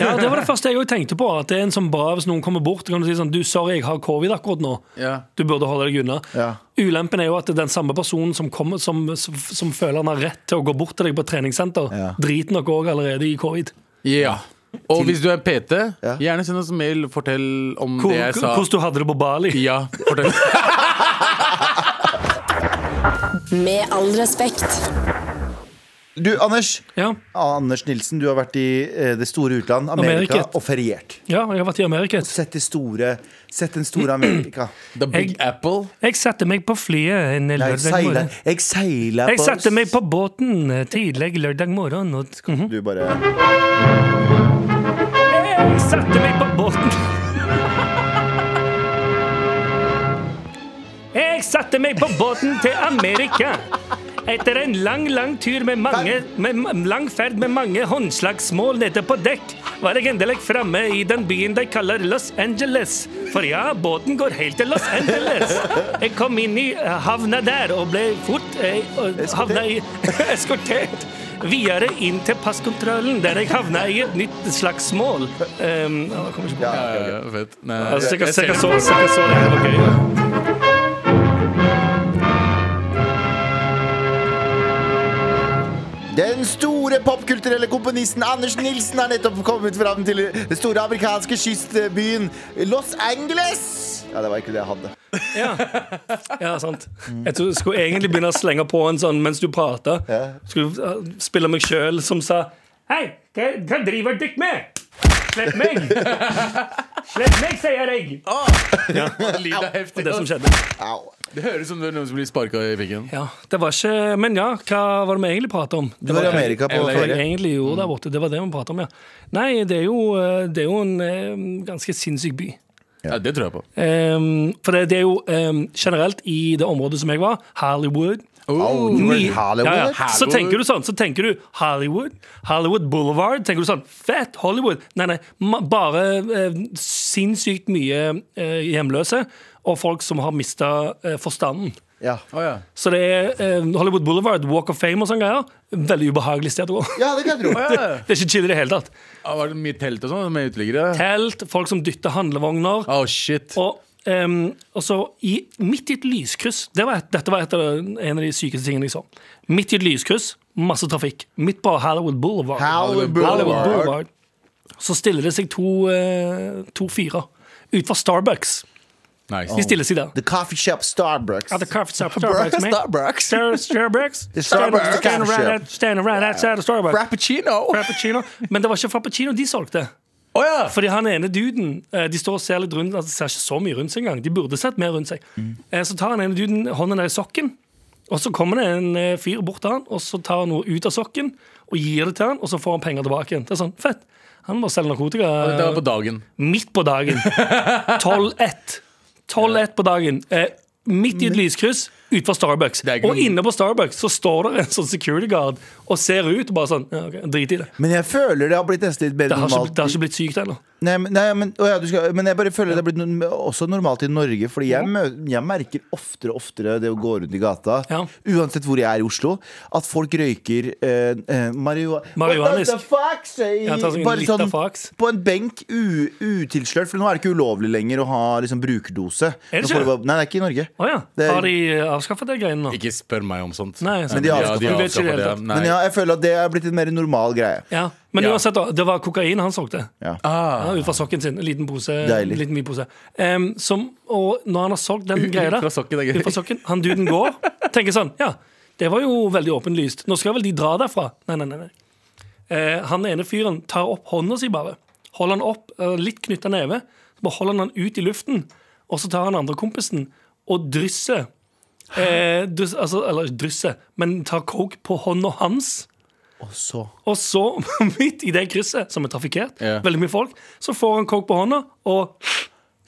B: Ja, Det var det første jeg også tenkte på. At det er en sånn bra Hvis noen kommer bort, kan du si sånn Du, sorry, jeg har covid akkurat nå.
C: Ja.
B: Du burde holde deg unna.
D: Ja.
B: Ulempen er jo at den samme personen som, kommer, som, som, som føler han har rett til å gå bort til deg på et treningssenter,
D: Ja.
B: driter nok òg allerede i covid.
C: Ja. Og hvis du er PT,
D: Ja.
C: gjerne send oss mail. Fortell om
B: Hvor-
C: det jeg sa.
B: Hvordan du hadde det på Bali.
C: Ja, fortell.
F: Med all respekt.
D: Du, Anders. Ah,
B: Ja.
D: Anders Nilsen, du har vært i eh, det store utland, Amerika,
B: Amerika.
D: og feriert.
B: ja, jeg har vært i Amerika.
D: Sett det store Sett den store Amerika.
C: The Big Apple.
B: Jeg satte meg på flyet en
D: Nei,
B: lørdag
D: seila
B: morgen.
D: Jeg seila på
B: Jeg satte meg på båten tidlig lørdag morgen. Og, Mhm.
D: Du bare
B: Jeg satte meg på båten Jeg satte meg på båten til Amerika etter en lang, lang tur med mange med, ma- lang ferd med mange håndslagsmål nede på dekk, var jeg endelig framme i den byen de kaller Los Angeles. For ja, båten går helt til Los Angeles. Jeg kom inn i eh, havna der og ble fort eh, og havna i eskortert videre inn til passkontrollen, der jeg havna i et nytt slagsmål. Um, jeg kommer ikke på.
C: Ja, ja, fett. Nei,
B: Altså,
C: jeg-
B: sikkert-
C: jeg ser
B: sikkert
C: det.
B: så- sikkert så det. Ok, ja.
D: Den store popkulturelle komponisten Anders Nilsen har nettopp kommet fram til den store amerikanske kystbyen Los Angeles. Ja, det var ikke det jeg hadde.
B: Ja, sant. Jeg tror jeg skulle egentlig begynne å slenge på en sånn mens du prater. Skulle uh, spille meg sjøl som sa Hei, hva, hva driver dere med? Slipp meg! Slipp meg, sier jeg!
C: Lyd er heftig.
B: Og det som skjedde.
D: Au.
C: Det høres ut som det er noen som blir sparka i pikken.
B: Ja, det var ikke Men ja, hva var det vi egentlig pratet om?
D: Du var i Amerika på
B: Hva jeg
D: ferie.
B: egentlig gjorde der borte. Det var det vi pratet om, ja. Nei, det er jo, eh, det er jo en eh, ganske sinnssyk by.
C: Ja, det tror jeg på.
B: Ehm, for det, det er jo ehm, generelt i det området som jeg var, Hollywood
D: Au, du var i Hollywood.
B: Ja, ja. Så tenker du sånn, så tenker du Hollywood, Hollywood Boulevard Tenker du sånn, fett Hollywood Nei, nei, ma- bare eh, sinnssykt mye eh, hjemløse Og folk som har mistet eh, forstanden
D: Ja.
C: Å, ja.
B: Så det er eh, Hollywood Boulevard, Walk of Fame og sånne greier Veldig ubehagelig sted å gå
D: ja, det kan jeg tro.
B: Det er ikke chill i det hele tatt
C: Ah, Var det mye telt og sånn med uteliggere?
B: Telt, folk som dytter handlevogner
C: Oh, shit.
B: Og, ehm, og så i, midt i et lyskryss det var et, Dette var et av de, en av de sykeste tingene jeg så. Midt i et lyskryss, masse trafikk. Midt på Hollywood Boulevard.
D: Hollywood Boulevard.
B: Så stiller det seg to, eh, to fyrer utenfor Starbucks.
C: Nice.
B: De stiller seg der.
D: The coffee shop Starbucks.
B: At the coffee shop, Starbucks, man.
C: Starbucks.
B: Star- Starbucks.
D: Starbucks, the
B: Standing
D: coffee
B: right
D: shop.
B: out- standing right outside of Starbucks.
C: Frappuccino! Å
B: Frappuccino. Men det var ikke frappuccino de solgte.
C: ja!
B: Fordi han ene duden eh, De står og ser litt rundt altså, de Ser ikke så mye rundt seg engang De burde sett mer rundt seg Eh, Så tar han ene duden hånden ned i sokken Og så kommer det en eh, fyr bort til han Og så tar han noe ut av sokken Og gir det til han Og så får han penger tilbake igjen Det er sånn, fett Han bare selger narkotika eh,
C: Dette var på dagen.
B: Midt på dagen 12-1 12-1 på dagen eh, Midt i et lyskryss utenfor Starbucks
C: Det er ikke
B: Og
C: noe-
B: inne på Starbucks så står det en sånn security guard Og ser ut og bare sånn ja, ok, Drit i det
D: Men jeg føler det har blitt nesten litt
B: Det
D: bedre
B: har ikke,
D: normalt.
B: det har ikke blitt sykt heller
D: Nei, men, nei, men, å ja, du skal, men jeg bare føler det har blitt no- også normalt i Norge. Fordi jeg, mø, jeg merker oftere og oftere det å gå rundt i gata,
B: Ja.
D: uansett hvor jeg er i Oslo, at folk røyker eh, eh, marihu-
B: Marihuanisk.
D: What the fuck, say?
B: Ja, ta sånn
D: Bare
B: litt
D: sånn
B: av fax.
D: på en benk u, utilslørt. For nå er det ikke ulovlig lenger å ha liksom, brukerdose.
B: Er det
D: Nå
B: ikke?
D: får du bare- Nei, det er ikke i Norge.
B: Åja,
D: Det er-
B: har de eh, avskaffet det greiene nå?
C: Ikke spør meg om sånt.
B: Nei, sant.
D: Men de har
C: Ja,
D: avskaffet
B: Du
C: har
B: vet ikke det
C: avskaffet
B: hele
C: det.
B: tatt.
C: Nei.
D: Men ja, jeg føler at det har blitt en mer normal greie.
B: Ja. Men
C: Ja.
B: uansett, da, det var kokain han solgte. Ja.
C: Ah,
B: ut fra sokken sin. En liten pose.
D: Deilig.
B: Liten hvit pose. Em, som, og når han har solgt den
C: ut
B: greia der,
C: fra sokken, det er gøy.
B: ut fra sokken, han duden går, tenker sånn Ja, det var jo veldig åpenlyst. Nå skal vel de dra derfra? Nei, nei, nei. nei. Eh, han ene fyren tar opp hånda si bare. Holder han opp, eh, litt knytta neve. Så bare holder han han ut i luften. Og så tar han andre kompisen og drysser. Eh, dryss, altså, eller ikke drysser, men tar coke på hånda hans.
D: Og så
B: Og så, midt i det krysset, som er trafikkert,
C: Ja.
B: veldig mye folk, så får han coke på hånda, og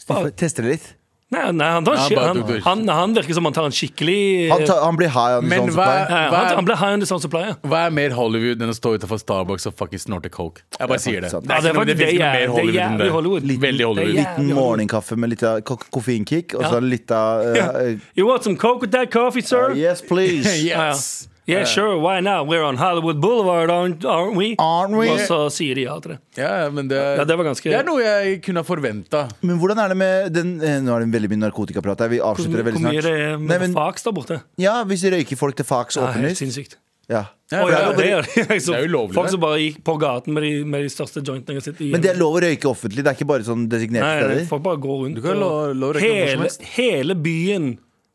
D: Får jeg Teste det litt.
B: Nei, nei han, tar en
C: Ja,
B: ski-
C: bare
B: han,
C: tok det.
B: han, han virker som han tar en skikkelig
D: Han, tar, han blir high on his
C: Men
D: own
C: hva-
D: supply.
B: Ja, han,
C: Hva-
B: han ble high sånn on the sound supply. ja.
C: Hva er mer Hollywood enn å stå utenfor Starbucks og fucking snorte coke? Jeg bare sier det.
D: sant.
B: Ja, det
C: ikke
B: er
C: noe-
B: faktisk-
C: finnes
B: det er-
C: ikke noe mer
B: det er
C: enn
B: jævlig Hollywood.
C: Veldig Hollywood.
B: Det er
D: Liten morgenkaffe med litt av ko- koffeinkick, og
B: Ja.
D: så litt av eh, eh,
B: You want some coke with that coffee, sir?
D: Ah, Yes, Eh. please.
C: Yes.
B: Ja, yeah, sure, why not? We're on Hollywood Boulevard, aren't, aren't we?
D: Aren't we?
B: Og så sier de ja til det.
C: Ja, men det,
B: Ja, det var ganske-
C: det er noe jeg kunne ha forventa.
D: Men hvordan er det med den eh, Nå er det veldig mye narkotikaprat her. Vi avslutter det
B: Hvor
D: veldig
B: mye
D: snart.
B: det er med
D: Nei, men,
B: fax der borte?
D: ja, hvis røyker folk til fax
B: Ja, helt
D: åpenlyst.
B: sinnssykt.
D: Ja.
B: Å, ja, det, er, liksom
C: Det er ulovlig,
B: Folk
C: det.
B: som bare gikk på gaten med de, med de største jointene jeg har sett i
D: Men det er lov å røyke offentlig? Det er ikke bare sånn
B: Nei,
D: designerte
B: nei,
D: steder?
B: folk bare går rundt.
C: kan
B: og-
C: lov- lov å røyke hvor som
B: hele,
C: helst.
B: hele byen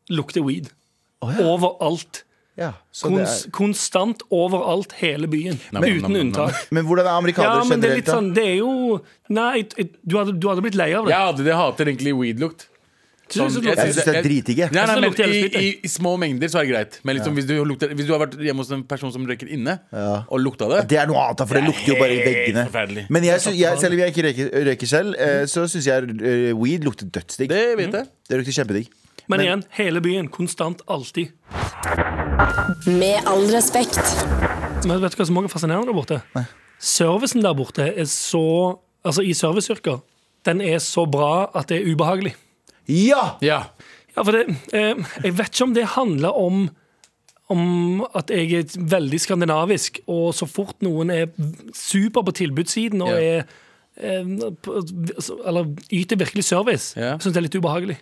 B: lukter weed. Overalt.
D: Ja, så det
B: Kons,
D: er.
B: konstant overalt, hele byen.
C: Nei, men-
B: uten
C: nei, men-
B: unntak.
D: Men hvordan er amerikanere
B: Ja, men det er
D: generelt?
B: litt
D: da?
B: sånn Det er jo Nei, et- et- du hadde, du hadde blitt lei av det.
C: Jeg hadde det jeg hater egentlig weed-lukt. sånn,
B: Synes du det
D: Jeg
B: lukter-
D: synes det er dritdigge.
C: Nei, nei,
B: Jeg synes det
C: men
B: lukter
C: i,
B: jævlig
C: i,
B: sprit,
C: I små mengder så er det greit. Men liksom, hvis, du lukter, hvis du har vært hjemme hos en person som røyker inne, og lukta det
D: Det er noe annet, da, for det
C: Det er
D: lukter jo bare i
C: helt
D: veggene.
C: forferdelig.
D: Men jeg, sy- jeg, selv om jeg ikke røyker, røyker selv, eh, så syns jeg eh, weed lukter dødsdigg.
C: Det vet jeg.
D: Det lukter kjempedigg.
B: men, igjen, hele byen. Konstant, alltid.
F: Med all respekt.
B: Men vet du hva som også er fascinerende der borte? Servicen der borte er så Altså, i serviceyrker, den er så bra at det er ubehagelig.
D: Ja!
C: Ja.
B: Ja, for det, eh, jeg vet ikke om det handler om om at jeg er veldig skandinavisk, og så fort noen er super på tilbudssiden og
C: Ja.
B: er eh, på- altså, eller yter virkelig service,
C: Ja.
B: syns jeg er litt ubehagelig.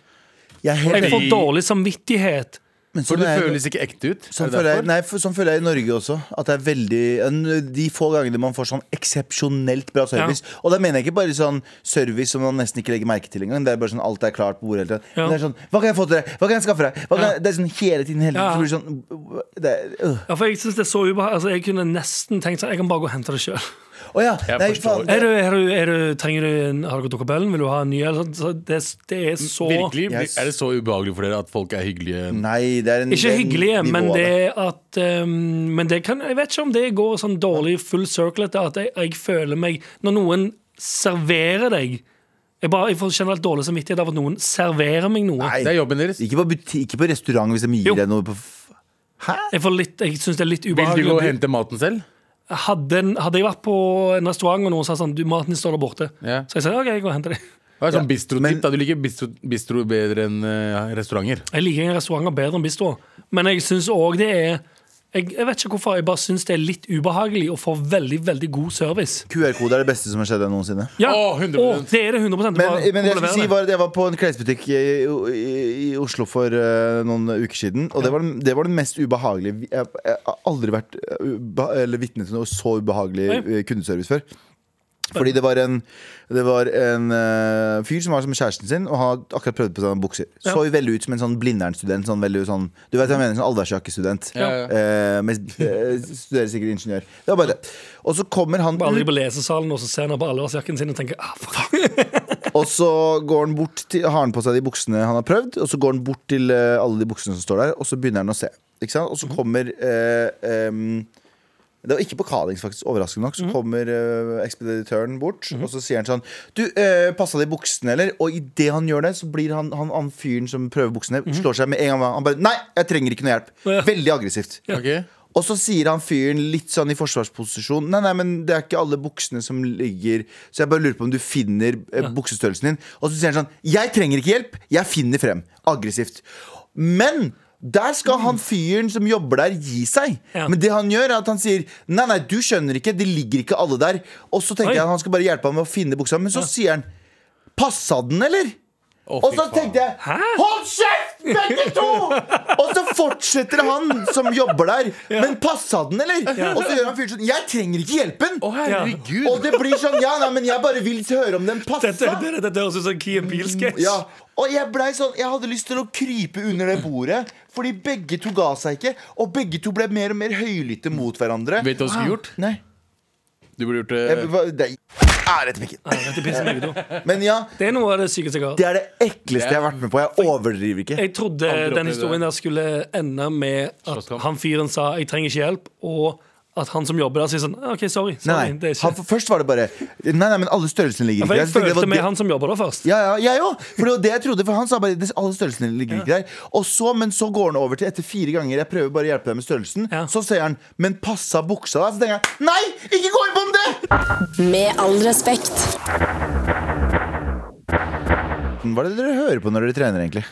D: Jeg er helt
B: Jeg får
C: Fordi-
B: dårlig samvittighet.
D: Men
C: For
D: sånn
C: det
D: er jeg-
C: føles ikke ekte ut.
D: Sånn
C: Er det
D: føler, jeg,
C: derfor?
D: nei, for, sånn føler jeg i Norge også. At det er veldig en- De få gangene man får sånn eksepsjonelt bra service. Og da mener jeg ikke bare sånn service som man nesten ikke legger merke til engang. Det er bare sånn alt er klart på bordet hele tiden.
B: Ja.
D: Men det er sånn Hva kan jeg få til deg? Hva kan jeg skaffe deg? Hva kan
B: Ja.
D: jeg? Det er sånn hele tiden, hele tiden.
B: Ja.
D: Så blir det sånn det er, øh.
B: Ja, for Jeg synes det er så ubehagelig altså, Jeg kunne nesten tenkt sånn Jeg kan bare gå og hente det sjøl.
D: Å ja.
C: Jeg
D: Nei,
C: forstår.
D: faen.
B: Er du, er du, er du, trenger du en Har du gått opp kapellen? Vil du ha en ny? Eller sånn? Så Det, det er så
C: Virkelig,
D: Yes.
C: Er det så ubehagelig for dere at folk er hyggelige?
D: Nei, det er en
B: Ikke
D: en
B: hyggelige,
D: nivå
B: men
D: av
B: det at um, Men det kan, jeg vet ikke om det går sånn dårlig full circle etter at jeg, jeg føler meg Når noen serverer deg Jeg, bare, jeg får generelt dårlig samvittighet av at noen serverer meg noe.
D: Nei,
C: Det er jobben deres.
D: Ikke på, buti- ikke på restaurant hvis de
B: Jo.
D: gir deg noe på f- Hæ?
B: Jeg, får litt- jeg syns det er litt
C: Vil de
B: ubehagelig.
C: gå
B: å
C: og
B: bli-
C: hente maten selv?
B: Hadde, en- hadde jeg vært på en restaurant og noen sa sånn du, 'Maten din står der borte',
C: Ja.
B: så jeg sa OK, jeg går og henter det.
C: Hva er sånn
D: Ja, men-
C: bistrotipp da? Du liker bistro, bistro bedre enn eh, restauranter.
B: Jeg liker restauranter bedre enn bistroer, men jeg syns òg det er jeg, jeg vet ikke hvorfor, jeg bare syns det er litt ubehagelig å få veldig veldig god service.
D: QR-kode er det beste som har skjedd deg noensinne.
B: Ja,
C: Å, 100%.
B: å, det er det 100 bare
D: Men, men det jeg skulle
B: komplementere.
D: si var at jeg var på en klesbutikk i, i, i Oslo for eh, noen uker siden. Og det var, den- det var den mest ubehagelige Jeg, jeg har aldri vært eh, ubeha- eller vitne til noe så ubehagelig
B: Oi.
D: eh, kundeservice før. Fordi det var en, det var en eh, fyr som var som kjæresten sin, og han hadde akkurat prøvd på seg noen bukser.
B: Ja.
D: Så veldig ut som en sånn Blindern-student. Sånn, veldig sånn, du vet hva jeg mener? Sånn allværsjakkestudent.
C: Ja, ja.
D: Eh, men eh, studerer sikkert ingeniør. Det var bare det. Og så kommer han
B: Bare
D: ut
B: aldri på lesesalen, og så ser han på allværsjakken sin og tenker ah, faen.
D: Og så går han bort til, har han på seg de buksene han har prøvd, og så går han bort til eh, alle de buksene som står der, og så begynner han å se. Ikke sant?
B: Mhm.
D: Og så kommer eh, em, Det var ikke på Kalings, faktisk, overraskende nok. Så
B: Mhm.
D: kommer eh, ekspeditøren bort, og så sier han sånn Du, uh, passa de buksene, eller? Og idet han gjør det, så blir han, han, han fyren som prøver buksene, slår seg med en gang. Han bare Nei, jeg trenger ikke noe hjelp.
B: Mhm. Ja.
D: Veldig aggressivt.
C: Ok?
D: Og så sier han fyren litt sånn i forsvarsposisjon Nei, nei, men det er ikke alle buksene som ligger Så jeg bare lurer på om du finner eh, buksestørrelsen din Og så sier han sånn Jeg trenger ikke hjelp, jeg finner frem Aggressivt Men der skal han fyren som jobber der gi seg
B: Ja.
D: Men det han gjør er at han sier Nei, nei, du skjønner ikke, det ligger ikke alle der Og så tenker
B: Oi.
D: jeg at han skal bare hjelpe ham med å finne buksa Men så sier han Passa den, eller?
C: Å,
D: Og
C: fy
D: så
C: faen.
D: tenkte jeg Hold kjeft, begge to! Og så fortsetter han som jobber der. Men passa den, eller? Og så gjør han fyren sånn Jeg trenger ikke hjelpen!
C: Å, herregud!
D: Og det blir sånn Ja, nei, men jeg bare vil høre om den
B: Dette,
D: passa.
B: dette, dette høres ut som en Key Peel-sketsj.
D: Mm, Ja. Og jeg blei sånn Jeg hadde lyst til å krype under det bordet, fordi begge to ga seg ikke. Og begge to ble mer og mer høylytte mot hverandre.
C: Vet du hva du skulle gjort?
D: Nei.
C: Du burde gjort eh,
D: Jeg,
C: det
D: hva- det er etter mikken.
B: Dette pisser meg ut også.
D: Men ja,
B: Det er noe av det sykeste jeg har.
D: det er det ekleste jeg har vært med på. Jeg overdriver ikke.
B: Jeg trodde
C: Aldri opplevd
B: den historien der skulle ende med at
C: Slåsskamp.
B: han fyren sa 'jeg trenger ikke hjelp', og at han som jobber der, sier sånn OK, sorry.
D: Nei,
B: sorry
D: nei.
B: det er
D: Han,
B: ikke.
D: for først var det bare Nei, nei, men alle størrelsene ligger
B: For
D: ikke
B: jeg
D: der. Så
B: følte
D: tenkte det var
B: med
D: det-
B: han som jobber der først.
D: Ja, ja, jeg òg! For det var det jeg trodde. For han sa bare "Des- alle størrelsene ligger ikke der. Og så, Men så går han over til etter fire ganger jeg prøver bare å hjelpe deg med størrelsen.
B: Ja.
D: Så sier han 'men passa buksa', da? Så tenker jeg nei, ikke gå inn på om det!
F: Med all respekt.
D: Hva er det dere hører på når dere trener, egentlig?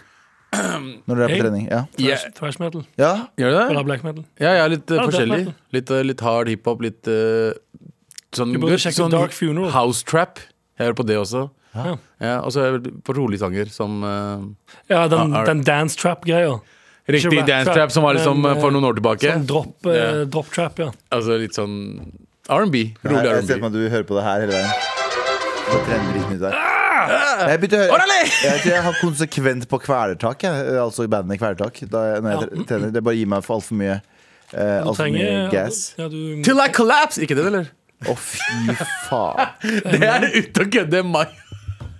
D: Når dere er
B: Jeg?
D: på trening? Ja.
B: Trash, trash metal.
D: ja.
C: Gjør du det?
B: Eller black metal.
C: Ja, jeg er litt eh,
B: Ja, det er
C: forskjellig.
B: smart,
C: Litt, eh, litt hard hiphop, litt eh, sånn,
B: Du burde
C: vet,
B: sjekke Dark Funeral.
C: house trap. Jeg hører på det også.
B: Ja.
C: Ja, og så er jeg veldig- på rolige sanger som eh,
B: Ja, den,
C: Ah, alright.
B: den dance trap-greia.
C: Riktig
B: rap
C: dance
B: trap,
C: trap som var liksom
B: men,
C: eh, for noen år tilbake.
B: Sånn drop, eh, drop trap, ja.
C: Altså litt sånn R&B.
D: Nei,
C: Rolig
D: jeg ser for
C: R&B.
D: meg at du hører på det her hele veien. Så trener dritten ut der. Jeg begynte å høre
C: Orale!
D: Jeg, tror jeg har konsekvent på kvelertak, jeg. altså bandet Kvelertak. Da jeg, når jeg trener. Det bare gir meg for altfor mye, eh, alt for mye
B: Trenger
D: gas.
B: ja, du,
C: Till I collapse! Ikke den, eller?
D: Å, fy faen.
C: Det er ute og kødde! Mai.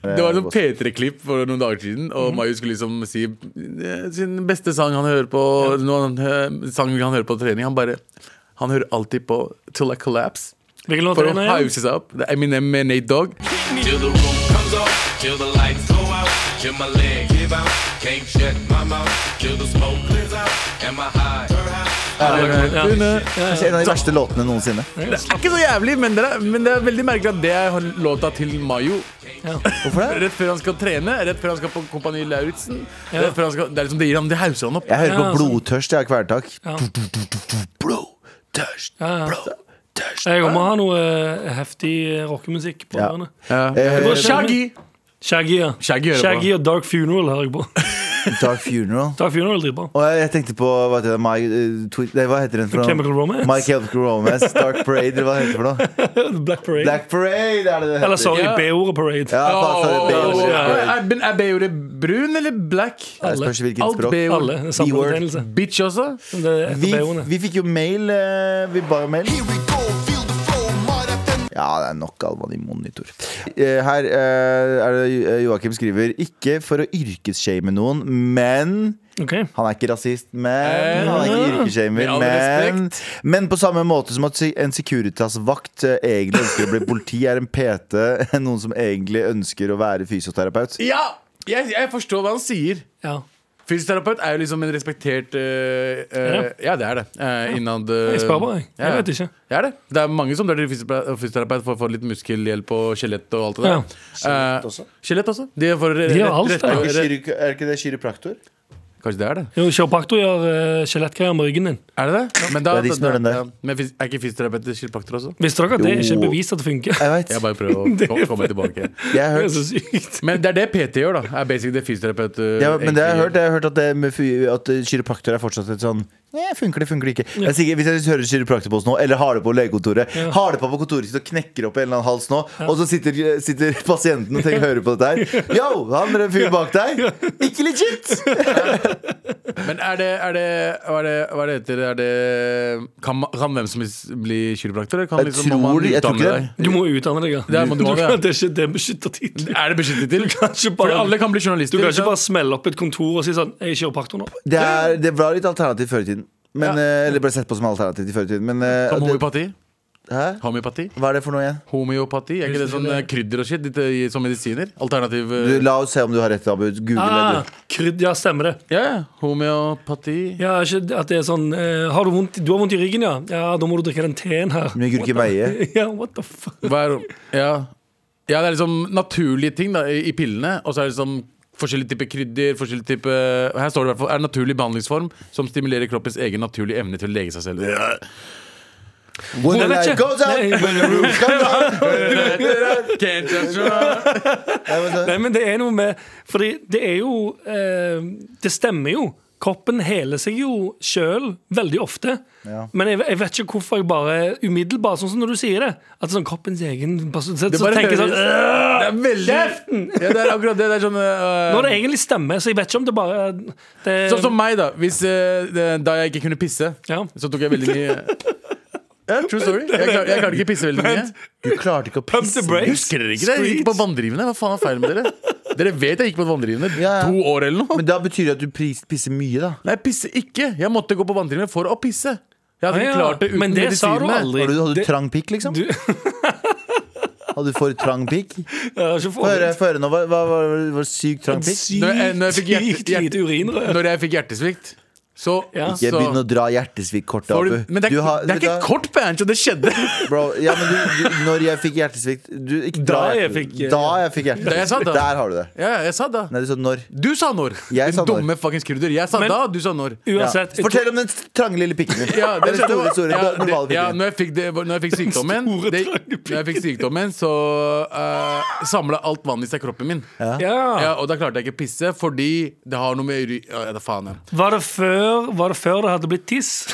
C: Det var
D: boss.
C: et P3-klipp for noen dager siden, og
B: Mhm.
C: Maju skulle liksom si eh, sin beste sang han hører på noen, eh, sang han hører på trening. Han bare Han hører alltid på Till I Collapse.
B: Hvilken låt
C: For
B: er
C: å
B: det igjen?
C: hause seg opp. Det er Eminem med Nate Dogg.
H: Till the roof comes off, till the lights go out, till my leg give out, can't shut my mouth, till the smoke clears out, and my high.
B: Ja.
D: Kanskje en av de verste låtene noensinne.
C: Ikke så jævlig, men det er, men det er veldig merkelig at det er låta til Mayo.
D: Hvorfor det?
C: Rett før han skal trene, rett før han skal på Kompani Lauritzen.
B: Ja.
C: rett før han skal- Det er liksom det gir han, det hauser han opp.
D: Jeg hører
B: Ja,
D: på
B: altså.
D: Blodtørst jeg, av Kvelertak.
C: Bro, tørst,
B: ja.
C: bro, tørst.
B: Jeg må ha noe eh, heftig eh, rockemusikk på
D: Ja.
B: ørene.
D: Eh,
B: Bare Shaggy! Shaggy, ja.
C: Shaggy hører på.
B: og Dark Funeral hører jeg på.
D: Dark Funeral.
B: Dark Funeral er dritbra.
D: Og jeg, jeg tenkte på hva heter, det, My, eh, Twi- nei, hva heter den for noe?
B: Chemical Romance?
D: My Chemical Romance, Dark Parade, eller hva heter det for noe?
B: Black Parade.
D: Black Parade er det det
B: Eller
D: heter.
B: sorry,
C: Ja.
B: B-ordet Parade.
D: Ja, faen, så er det
C: Åh,
D: B-ordet.
C: Er Ben- er B-ordet brun eller black?
D: Jeg spørs hvilket
C: Alt
D: språk.
C: B-ord.
B: Alle. Samme
D: B-word.
B: betegnelse.
C: Bitch også?
B: Det er etter
D: Vi,
B: B-ordene.
D: vi fikk jo mail. eh, Vi ba jo mail.
G: Here we go, feel the flow, mud FM.
D: Ja, det er nok Alvan i monitor. Eh, Her eh, er det Jo- Joakim skriver Ikke for å yrkesshame noen, men
B: Ok.
D: Han er ikke rasist, men Han er ikke
C: Eh, Med
D: yrkesshamer,
C: all
D: men Men på samme måte som at si- en Securitas-vakt eh, egentlig ønsker å bli politi, er en PT noen som egentlig ønsker å være fysioterapeut.
C: Ja! Jeg, jeg forstår hva han sier.
B: Ja.
C: Fysioterapeut er jo liksom en respektert eh, eh,
B: Er det?
C: Ja, det er det. Uh, innad eh,
B: Jeg spør bare, jeg. Jeg
C: ja.
B: vet ikke.
C: Det er det. Det er mange som drar til fysiotera- fysioterapeut for å få litt muskelhjelp og skjelett og alt det
B: Ja.
C: der. Eh,
D: Skjelett også?
C: Skjelett også. De får re-
B: De har
C: rett-
B: alt,
C: rett-
B: da.
D: Er ikke,
C: rett-
D: kyro- er ikke det kiropraktor?
C: Kanskje det er det.
B: Jo, Kiropraktor gjør eh, skjelettgreier med ryggen din.
C: Er det det? Men, da,
D: Det er de som gjør den der.
C: ja. Men fys- er ikke fysioterapeuter kiropraktorer også?
B: Visste dere at det er ikke
D: Jo.
B: bevist at det funker?
D: Jeg vet.
C: Jeg bare prøver å
B: Det er
C: ko- komme tilbake.
D: Jeg
B: Det
D: har hørt
B: er så sykt.
C: Men det er det PT gjør, da. Er basic det fysioterapeut eh,
D: Ja, men det har jeg
C: egentlig
D: hørt,
C: gjør.
D: jeg har hørt at, det med, fy- at eh, kiropraktor er fortsatt et sånn Nei, funker det, funker det ikke. Jeg er sikker, hvis jeg hører kiropraktor på oss nå, eller har det på legekontoret Har det på på kontoret sitt og knekker opp i en eller annen hals nå, og så sitter, sitter pasienten og tenker, hører på dette her Yo, han der fyren bak deg, ikke legit!
C: Men er det, er det, hva er det Hva er det heter er det, kan, ma- kan hvem som helst bli kiropraktor? eller Kan
D: Jeg
C: liksom, må man
D: tror- jeg tror
C: utdanne
D: ikke
C: deg?
D: det.
B: Du må jo utdanne deg, ja.
C: Det må du ha,
B: kan-
C: ja.
B: det er ikke det beskytter tittel.
C: Er det beskyttet til?
B: ikke bare-
C: For alle kan bli
B: Du
C: journalister.
B: kan ikke
C: sant?
B: bare smelle opp et kontor og si sånn Jeg er kiropraktor nå.
D: Det, er, det var litt alternativ før i tiden. Men,
C: Ja.
D: eh, Eller ble sett på som alternativ i før i tiden. Men eh,
C: Som
D: det,
C: homeopati?
D: hæ?
C: Homeopati?
D: hva er det for noe igjen?
C: Homeopati? Er ikke det sånn eh, krydder og shit ditt, eh, som medisiner? Alternativ eh,
D: Du, la oss se om du har rett, Abu. Google
B: Ah,
D: det.
B: krydd, ja, stemmer det.
C: Ja, ja. Homeopati
B: Ja, ikke at det er sånn eh, har du, vondt, du har vondt i ryggen, ja? Ja, da må du drikke den teen her.
D: du. Mye gurke veie.
B: Ja, what the fuck?
C: Hva er ja. ja, det er liksom naturlige ting da, i, i pillene. Og så er det liksom forskjellige typer krydder. Forskjellige type, her står det i hvert fall er naturlig behandlingsform som stimulerer kroppens egen naturlige evne til å lege seg selv.
D: When the
B: Jeg vet
D: light
B: ikke.
D: goes out,
B: Nei.
D: when the roof comes out.
C: Can't touch me.
D: Nei, men så-
B: Nei, men det er noe med Fordi det er jo eh, Det stemmer jo. Kroppen heler seg jo sjøl veldig ofte.
D: Ja.
B: Men jeg, jeg vet ikke hvorfor jeg bare umiddelbart, sånn som når du sier det At sånn kroppens egen person Så,
C: Det
B: så
C: bare
B: tenker jeg sånn
C: høres-
B: «Åh!»
C: Det er veldig Ja, det er akkurat det. Det er sånn eh,
B: Når det egentlig stemmer, så jeg vet ikke om det bare det,
C: Sånn som meg, da. Hvis, eh, det, da jeg ikke kunne pisse,
B: Ja.
C: så tok jeg veldig mye ja, True story. Jeg, klar, jeg klarte ikke pisse veldig mye.
D: Du klarte ikke å
B: Pump the
D: pisse.
B: brakes.
C: Husker dere ikke det? Jeg gikk på vanndrivende. Hva faen er feil med dere? Dere vet jeg gikk på vanndrivende.
D: Ja, ja.
C: To år eller noe.
D: Men da betyr det at du pris- pisser mye, da.
C: Nei, pisse ikke. Jeg måtte gå på vanndrivende for å pisse. Jeg
B: Ah,
C: hadde ikke
B: ja.
C: klart det uten
B: Men det sa du
C: medisinene.
B: aldri.
D: Har du, hadde du
B: Det-
D: trang pikk, liksom?
B: Du-
D: Hadde du for trang pikk?
B: Jeg har ikke
D: Få høre,
B: fått
D: få høre nå. Hva hva- hva- hva sykt trang
B: en
D: pikk?
C: Når jeg- når jeg fikk
B: sykt
C: hjerte-
B: sykt lite urinrør.
C: Når jeg fikk hjertesvikt, så,
B: Ja.
C: så
D: Jeg begynner å dra hjertesviktkortet,
C: altså. Får
D: Abu.
C: du- Men det er,
D: Du har-
C: det er
D: vet du
C: ikke
D: hva?
C: et kort bench, og det skjedde.
D: Bro, ja, men du, du, når jeg fikk hjertesvikt du, ikke
B: Da
D: dra
B: jeg
D: hjertesvikt.
B: fikk-
D: Da jeg fikk hjertesvikt.
C: Da jeg sa da.
D: Der har du det.
C: Ja, jeg sa da.
D: Nei, du sa når.
C: Du sa når.
D: Jeg sa
C: Din
D: når.
C: Dumme fuckings kurder. Jeg sa
B: Men-
C: da, du sa når.
D: Ja.
B: Uansett.
D: Fortell om den trange lille pikken din.
C: Ja, det
D: Eller
C: skjedde.
D: store, store,
C: ja, det,
D: normale
C: ja,
D: pikken.
C: når jeg fikk, det, når jeg fikk sykdommen,
B: Store,
C: det,
B: trange pikken.
C: når jeg fikk sykdommen så uh, samla alt vann i seg kroppen min.
B: Ja.
C: Ja, og da klarte jeg ikke å pisse, fordi det har noe med urin ja, det faen, ja.
B: Var det før, var det før det hadde blitt tiss?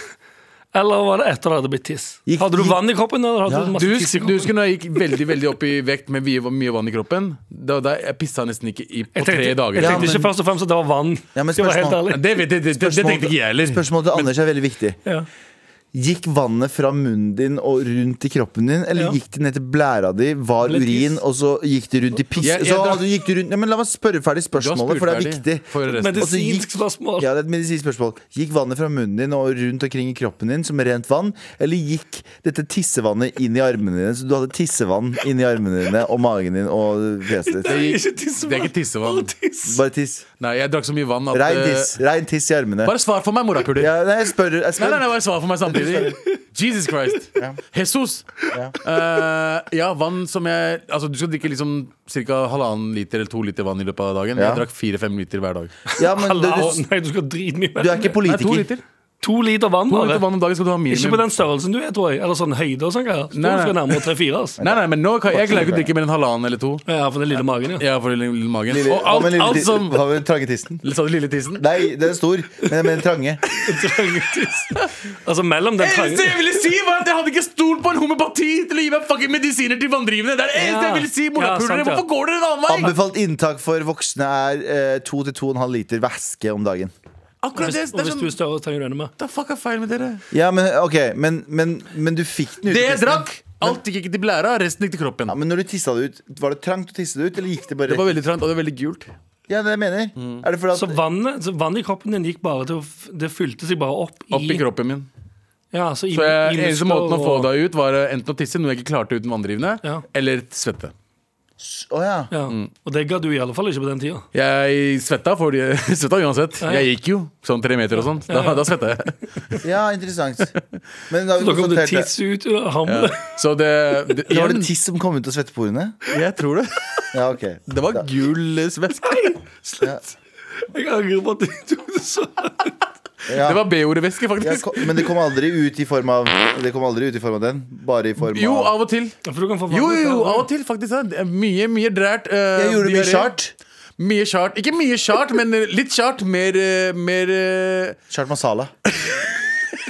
B: Eller var det etter det hadde blitt tiss?
D: Gikk-
B: Hadde du
D: gikk-
B: vann i kroppen? Eller hadde du
D: Ja.
C: Du,
B: masse tiss i
C: husker- du
B: kroppen?
C: husker når jeg gikk veldig veldig opp i vekt med mye, mye vann i kroppen? Da, da Jeg pissa nesten ikke i, på
B: jeg tenkte,
C: tre dager.
B: jeg
D: Ja,
B: tenkte
D: men-
B: ikke først og fremst at det var vann.
D: Ja, men
B: det var helt
D: spørsmål-
B: ærlig.
C: Det, vet- det, det, det, det tenkte ikke jeg heller.
D: Spørsmålet til Anders er veldig viktig.
B: Ja.
D: Gikk vannet fra munnen din og rundt i kroppen din, eller
B: Ja.
D: gikk det ned til blæra di, var
B: Eller
D: urin,
B: tiss.
D: og så gikk det rundt i piss?
C: Jeg- jeg
D: så
C: drar-
D: hadde du gikk du rundt, ja, men La meg spørre ferdig spørsmålet,
C: spurt
D: for det er
C: ferdig.
D: viktig.
C: Får jeg resten.
D: Og så gikk-
B: Medisinsk spørsmål.
D: Ja, det er et medisinsk spørsmål Gikk vannet fra munnen din og rundt omkring i kroppen din som rent vann, eller gikk dette tissevannet inn i armene dine? Så du hadde tissevann inni armene dine og magen din og fjeset ditt?
C: gikk-
B: Ikke tissevann.
C: det er ikke tissevann.
B: Bare tiss.
D: Bare tiss.
C: Nei, jeg drakk så mye vann at
D: Rein
C: eh,
D: tiss. Rein tiss i armene.
C: Bare svar for meg, morapuler.
D: Ja, nei, jeg spør. Jeg
C: Nei,
D: spør.
C: nei, nei, bare svar for meg samtidig. Jesus Christ. Jesus. Ja. ja, vann som jeg Altså, du skal drikke liksom ca. halvannen liter eller to liter vann i løpet av dagen.
D: Ja.
C: Jeg drakk fire-fem liter hver dag.
D: Ja, men du,
B: Halvannen-
D: du,
B: Nei, du skal drite mye mer.
D: du er ikke
C: Nei, to
D: politiker.
C: liter.
B: To liter vann,
C: To
B: bare.
C: liter vann om dagen skal du ha
B: Ikke på
C: minimum.
B: den størrelsen du er, tror jeg. Eller sånn høyde og sånn greier. Jeg
C: Nei,
B: tror Du skal
C: nei.
B: nærmere tre-fire. Altså.
C: Nei, nei, men nå kan jeg klarer ikke å drikke mer enn halvannen eller to.
B: Ja, for den lille magen, ja.
C: Ja, for lille, lille magen.
D: Lille-
C: og
D: Hva
C: alt,
D: med lille
C: alt
D: ti-
C: som
D: Hva med trange tissen?
C: Sa du lille tissen?
D: Nei, den er stor, men jeg mener trange.
B: Trange tiss. altså mellom den
C: Det eneste
B: trange
C: jeg ville si, var at jeg hadde ikke stolt på en homopati til å gi meg fucking medisiner til vanndrivende. Det er det
B: Ja.
C: eneste jeg ville si,
B: Ja,
C: morapulere.
B: sant, ja.
C: Hvorfor går dere en annen vei?
D: Anbefalt inntak for voksne er eh, 2-2,5 liter væske om dagen.
C: Akkurat det,
B: Hvis- Og
C: det er
B: hvis du
C: sånn
B: er større, trenger du enda mer.
C: Hva fuck er feil med dere?
D: Ja, men ok, men, men, men du fikk den ut.
C: Det jeg drakk, alt gikk ikke til blæra, resten gikk til kroppen.
D: Ja, men når du tissa det ut, var det trangt å tisse det ut, eller gikk det bare
C: Det var Mm. veldig trangt, og det var veldig gult.
D: Ja, det er det jeg mener. Er det fordi
B: Så
D: at
B: vannet, så vannet i kroppen din gikk bare til å f- Det fylte seg bare opp i,
C: Opp i kroppen min.
B: Ja, så i,
C: Så jeg,
B: i
C: eneste
B: muskler
C: måten å få
B: og-
C: deg ut, var eh, enten å tisse, noe jeg ikke klarte uten vanndrivende,
B: Ja.
C: eller svette.
D: Å ja.
B: Ja.
C: Mm.
B: Og det ga du i alle fall ikke på den tida.
C: Jeg svetta, fordi, svetta uansett.
B: ja.
C: Jeg gikk jo sånn tre meter og sånn. Da, da svetta jeg.
D: ja, interessant. Men da har vi
B: Da kom det
D: konstatert det.
B: tiss ut av hamlet.
C: Så det, det,
D: Ja, Var det
C: igjen,
D: tiss som kom ut av svetteporene?
C: Jeg tror det.
D: Ja, ok.
C: Det var
D: Da-
C: gul væske.
B: Jeg angrer på at du tok det så
D: ja.
C: Det var B-ordet-væske,
D: ja,
C: faktisk.
D: ko- Men det kom aldri ut i form av Det kom aldri ut i form av den? Bare i form av
C: Jo, av og til.
B: Ja, For du kan få vann
C: Jo, jo, jo,
B: ut av-
C: av og til, faktisk. ja. Det er Mye, mye drært. eh,
D: Jeg gjorde mye
C: diaré.
D: chart.
C: Mye chart. Ikke mye chart, men eh, litt chart. Mer, eh, mer eh,
D: Chart masala.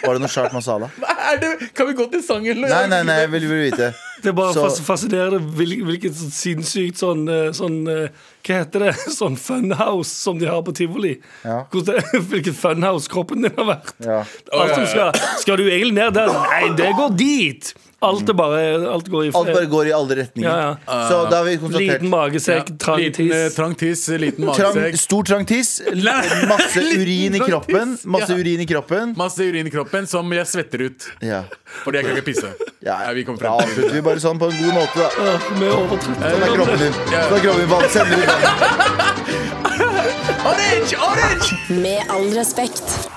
D: Var det noe chart masala?
C: Hva er det? Kan vi gå til sangen? eller?
D: Nei, nei, nei, jeg vil vil vite.
B: Det er bare
D: Så-
B: fas fascinerende hvil- hvilket sånn sinnssykt sånn, eh, sånn eh, Hva heter det? Sånn funhouse som de har på tivoli.
D: Ja.
B: Hvordan det- Hvilket funhouse kroppen din har vært.
D: Ja.
B: Alt som skal, skal du egentlig ned der? Nei, det går dit! Alt er bare Alt går i
D: Alt bare går i alle retninger.
B: Ja, ja.
D: Så da har vi konstatert
B: Liten magesekk, trang
C: Liten, eh,
B: tiss.
C: trang tiss, liten
D: trang,
C: magesekk.
D: Stor trang tiss,
C: Nei.
D: masse urin i
C: trang
D: kroppen.
C: tiss.
D: Masse
C: Ja.
D: urin i kroppen.
C: Masse urin i kroppen som jeg svetter ut.
D: Ja.
C: Fordi jeg kan ikke pisse.
D: Ja,
C: Nei, vi kom
D: da
C: frem til
D: avslutter vi bare sånn på en god måte, da.
B: Ja, Vi er over 30.
D: Sånn er kroppen din. Sånn er kroppen din. Hva sender du?
C: Orange! Orange!
F: Med all respekt.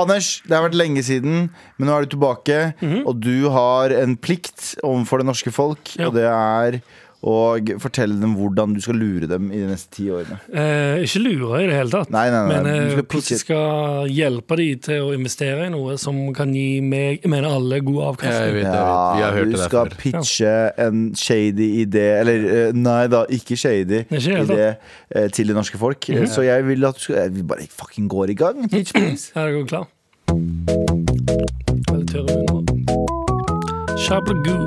D: Anders, det har vært lenge siden, men nå er du tilbake. Og du har en plikt overfor det norske folk,
B: Ja.
D: og det er å fortelle dem hvordan du skal lure dem i de neste ti årene.
B: Eh, ikke lure i det hele tatt.
D: Nei, nei, nei.
B: Men eh,
D: Du
B: hvordan
D: skal pitche.
B: jeg skal hjelpe de til å investere i noe som kan gi meg, jeg mener alle, god
C: Jeg
B: avkastning.
C: vet det. Vi har
D: Ja,
C: hørt
D: du
C: det der
D: skal
C: før.
D: pitche en shady idé Eller eh, nei da, ikke shady
B: Ikke i det hele tatt.
D: idé eh, til det norske folk. Eh, Så jeg vil at du skal Jeg vil bare fucking går i gang. Pitch, please.
B: Er dere klar? Er det tørre munnen nå? Shablagu.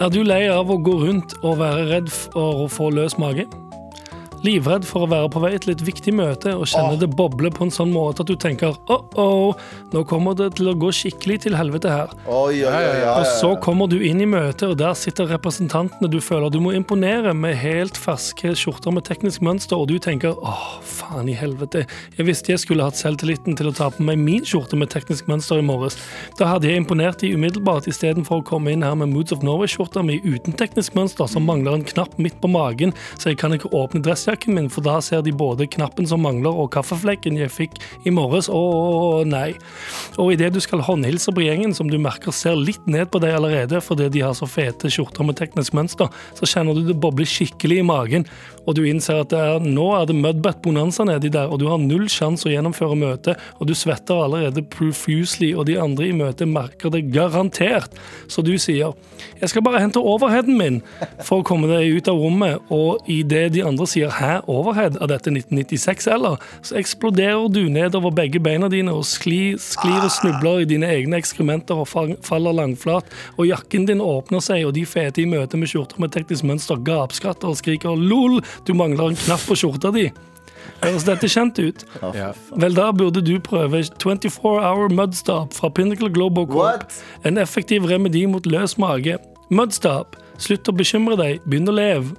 B: Er du lei av å gå rundt og være redd for å få løs mage? Livredd for å være på vei til et viktig møte og kjenne det boble på en sånn måte at du tenker oh-oh, nå kommer det til å gå skikkelig til helvete her.
D: Oi, oi, oi, oi, oi.
B: Og så kommer du inn i møtet, og der sitter representantene du føler du må imponere med helt ferske skjorter med teknisk mønster, og du tenker åh, faen i helvete. Jeg visste jeg skulle hatt selvtilliten til å ta på meg min skjorte med teknisk mønster i morges. Da hadde jeg imponert de umiddelbart, istedenfor å komme inn her med Moods of Norway-skjorta mi uten teknisk mønster, som mangler en knapp midt på magen, så jeg kan ikke åpne dressjakken min, for da ser de både knappen som mangler, og kaffeflekken jeg fikk i morges. Åh, nei. Og idet du skal håndhilse på gjengen, som du merker ser litt ned på deg allerede fordi de har så fete skjorter med teknisk mønster, så kjenner du det boble skikkelig i magen, og du innser at det er, nå er det mudbutt-bonanza nedi der, og du har null sjanse å gjennomføre møtet, og du svetter allerede profusely, og de andre i møtet merker det garantert. Så du sier 'Jeg skal bare hente overheaden min' for å komme deg ut av rommet, og idet de andre sier 'hæ, overhead', er dette 1996, eller? Så eksploderer du nedover begge beina dine og sklir, sklir og snubler i dine egne ekskrementer og fang- faller langflat, og jakken din åpner seg, og de fete i møte med skjorter med teknisk mønster gapskatter og skriker 'lol, du mangler en knapp på skjorta di'. Høres dette kjent ut?
C: Ja.
B: Vel, da burde du prøve 24 Hour Mudstop fra Pinnacle Global Corp.
D: What?
B: En effektiv remedi mot løs mage. Mudstop, slutt å bekymre deg, begynn å leve.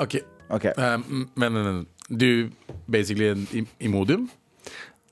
C: Ok,
D: Ok.
C: um, men, men, men du basically en im- imodium?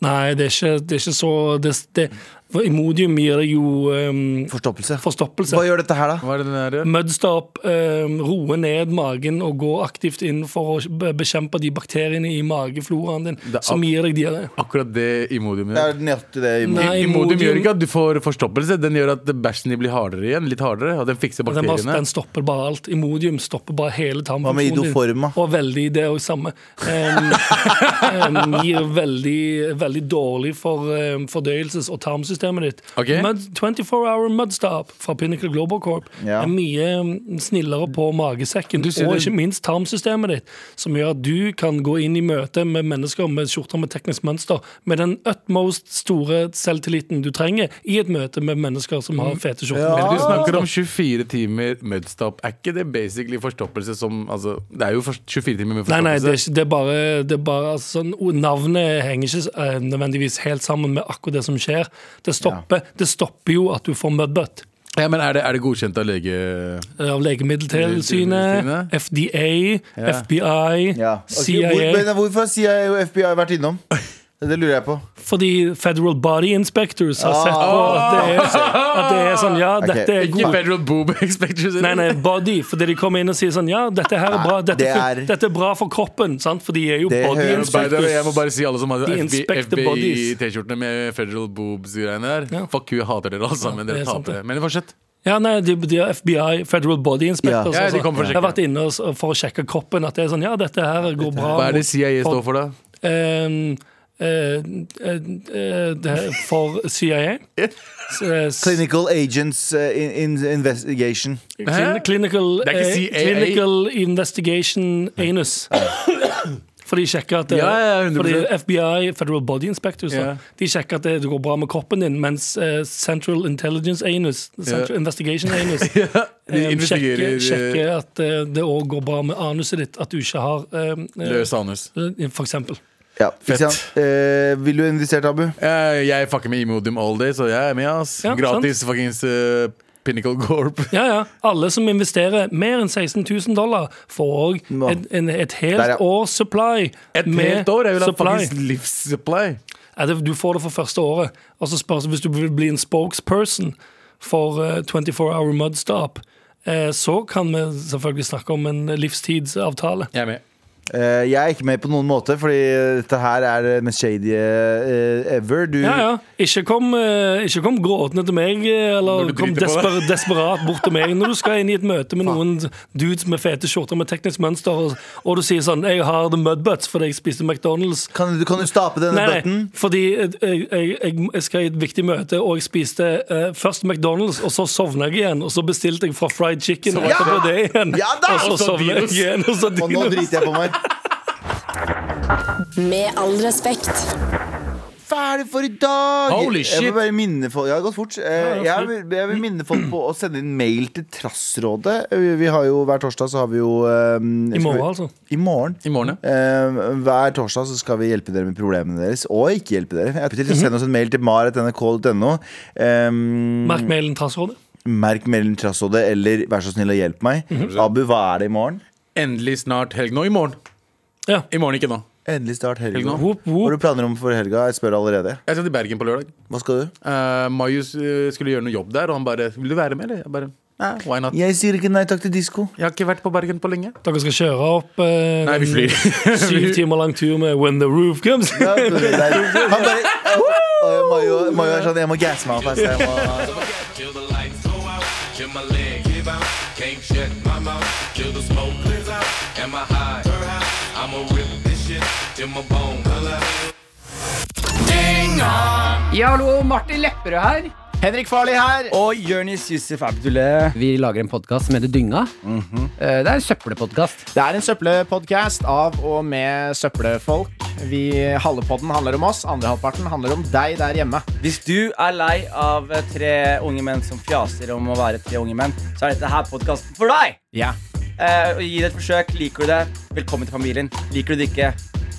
B: Nei, det er ikke, det er ikke så det, det, for Imodium gir deg jo ehm,
D: Forstoppelse.
B: forstoppelse.
D: Hva gjør dette her, da?
C: Hva er det den der?
B: Mm, Mudstop, um, roe ned magen og gå aktivt inn for å be- bekjempe de bakteriene i magefloraen din
C: Det er
B: som
C: ak-
B: gir deg diaré.
C: Akkurat det imodium
D: Det
C: gjør.
D: er nøyaktig det i
B: Nei,
C: Imodium
B: Imodium-
C: gjør ikke at du får forstoppelse. Den gjør at bæsjen din blir hardere igjen. Litt hardere, og den fikser
B: Den, bare,
C: bakteriene.
B: den stopper bare alt. Imodium stopper bare hele
D: Hva med
B: tarmfunksjonen
D: idoform, da?
B: Og veldig det er jo samme. Um, um, gir veldig, veldig dårlig for um, fordøyelses- og tarmsystemet ditt.
C: Ok.
B: Mud, 24 Hour Mudstop fra Pinnacle Global Corp
D: Ja.
B: er mye um, snillere på magesekken, og ikke minst tarmsystemet ditt, som gjør at du kan gå inn i møte med mennesker med skjorter med teknisk mønster med den utmost store selvtilliten du trenger i et møte med mennesker som
D: Mm.
B: har fete skjorter. med
C: Men du
B: teknisk mønster.
C: snakker om 24 timer mudstop. Er ikke det basically forstoppelse som altså, Det er jo for 24 timer med
B: Nei, nei, det er,
C: forstoppelse.
B: ikke, det er bare, det er bare altså, sånn, o- Navnet henger ikke eh, nødvendigvis helt sammen med akkurat det som skjer. Det stopper, det stopper jo at du får mudbutt
C: ja, men er det, er det godkjent av lege
B: av Legemiddeltilsynet,
C: Legemiddeltilsynet.
B: FDA,
C: Ja.
B: FBI,
D: Ja. Ok,
B: CIA.
D: Hvor, men hvorfor har CIA og FBI vært innom? Det lurer jeg på.
B: Fordi Federal Body Inspectors har sett på at det er, at det er sånn Ja,
D: Ah. Ok.
B: dette er
C: Ikke
B: god
C: Federal Boob Expectors.
B: Nei, nei, body, fordi de kommer inn og sier sånn Ja, dette her er bra, dette,
D: Det
B: fun-
D: er-
B: dette er bra for kroppen, sant? For de er jo
D: Det
B: body
D: høres
C: By the way, Jeg må
B: inspectors.
C: bare si alle som hadde
B: De inspect the bodies.
C: FBI-T-skjortene med Federal Boobs-greiene der.
B: Ja.
C: Fuck you, jeg hater dere alle sammen.
B: det
C: Dere
B: er sant,
C: taper.
B: det.
C: Men fortsett.
B: Ja, nei, de, de er FBI, Federal Body Inspectors.
C: Ja, ja, de
B: altså.
C: kommer for å
B: jeg har
C: sjekke.
B: vært inne og s- for å sjekke kroppen. At det er sånn, ja, dette her går bra.
C: Hva er det
B: mot-
C: CIA står for, da?
B: Ehm, eh, eh, eh, det er for CIA. S- eh, s-
D: Clinical Agents eh, in, in Investigation.
B: clin- clinical,
C: Det er ikke
B: eh,
C: CIA.
B: clinical Investigation Anus. For de sjekker at det-
C: Ja, ja, ja,
B: fordi
C: 100%.
B: FBI, Federal Body Inspectors, da,
C: Ja.
B: de sjekker at det, det går bra med kroppen din, mens eh, Central Intelligence Anus, Central
C: Ja.
B: Investigation Anus, Um,
C: De
B: sjekke,
C: investigerer
B: sjekke
C: eh,
B: at eh, det òg går bra med anuset ditt. At du ikke har um,
C: løs anus.
B: For eksempel.
D: Ja, Kristian, eh, vil du investere, Abu?
C: Eh, Jeg fucker med Imodium all day, så jeg er med, ass.
B: Ja,
C: Gratis fuckings eh, Pinnacle Gorp.
B: Ja, ja. Alle som investerer mer enn 16 000 dollar, får òg
D: Nå.
B: et, en- et helt
D: Der, ja.
B: års supply.
C: Et
B: med
C: helt år? Jeg vil ha
B: supply.
C: fuckings livssupply.
B: Ja, det, du får det for første året. Og så spørs det hvis du vil bli en spokesperson for eh, 24 Hour Mudstop. eh, Så kan vi selvfølgelig snakke om en livstidsavtale.
C: Jeg er med.
D: Eh, jeg er ikke med på noen måte, fordi dette her er det mest shady eh, ever. Du,
B: Ja, ja. Ikke kom, eh, ikke kom gråtende til meg, eh, eller
C: Når du
B: kom
C: driter på
B: desper desperat bort til meg når du skal inn i et møte med noen dudes med fete skjorter med teknisk mønster, og, og du sier sånn 'Jeg har the mudbutts fordi jeg spiste McDonald's'.
D: Kan, du kan du stape denne
B: Nei,
D: button?
B: nei, fordi jeg, jeg, jeg- jeg skal i et viktig møte, og jeg spiste eh, først McDonald's, og så sovna jeg igjen, og så bestilte jeg fra fried chicken, og
D: Ja!
B: etterpå det igjen,
D: Ja da!
B: og så
D: Og så
B: sovna jeg
D: Dinos.
B: igjen, og så
D: Og nå
B: Dinos.
D: driter jeg på meg.
F: Med all respekt.
D: ferdig for i dag!
C: Holy
D: Jeg
C: shit.
D: vil bare minne folk Ja, det har gått fort. Eh,
B: det var
D: Jeg vil, jeg vil minne folk på å sende inn mail til Trassrådet. Eh, Vi, vi har jo Hver torsdag så har vi jo eh,
B: I
D: skal vi-
B: morgen, altså.
D: I morgen.
C: I morgen, ja.
D: Eh, hver torsdag så skal vi hjelpe dere med problemene deres, og ikke hjelpe dere. Jeg til å Send oss en mail til maret.nrk.no. Um,
B: Merk mailen Trassrådet.
D: merk mailen Trassrådet, eller vær så snill og hjelp meg.
C: Mhm.
D: Abu, hva er det i morgen?
C: Endelig snart helg. Nå i morgen.
B: Ja.
C: I morgen, ikke nå.
D: Endelig start helga.
C: Helga.
D: Hva
B: Whoop, whoop.
D: har du planer om for helga? Jeg spør allerede.
C: Jeg skal til Bergen på lørdag.
D: Hva skal du?
C: Eh, Marius eh, skulle gjøre noe jobb der, og han bare 'Vil du være med?' eller? Jeg bare, Nei, why not?
D: Jeg sier ikke nei takk til disko.
C: Jeg har ikke vært på Bergen på lenge.
B: Dere skal kjøre opp eh,
C: Nei, vi flyr.
B: en syv timer lang tur med uh, When the roof comes.
D: Ja, det er- Han bare Og Mayo- Mayo er sånn Jeg må gasse meg opp. ass. Jeg må
H: Till the lights go out, till my leg give out, can't shut my mouth, till the smoke clears out, and my high her out. I'ma rip this shit till my bone collapse.
I: Ja, hallo, Martin Lepperød her.
J: Henrik Farley her. Og Jonis Yusuf Abdullah.
I: Vi lager en podkast som heter Dynga. Eh, Det er en søppelpodkast.
J: Det er en søppelpodkast av og med søppelfolk. Vi, halve podden handler om oss, andre halvparten handler om deg der hjemme.
K: Hvis du er lei av eh, tre unge menn som fjaser om å være tre unge menn, så er dette her podkasten for deg!
J: Ja,
K: Eh, og gi det et forsøk. Liker du det, velkommen til familien. Liker du det ikke,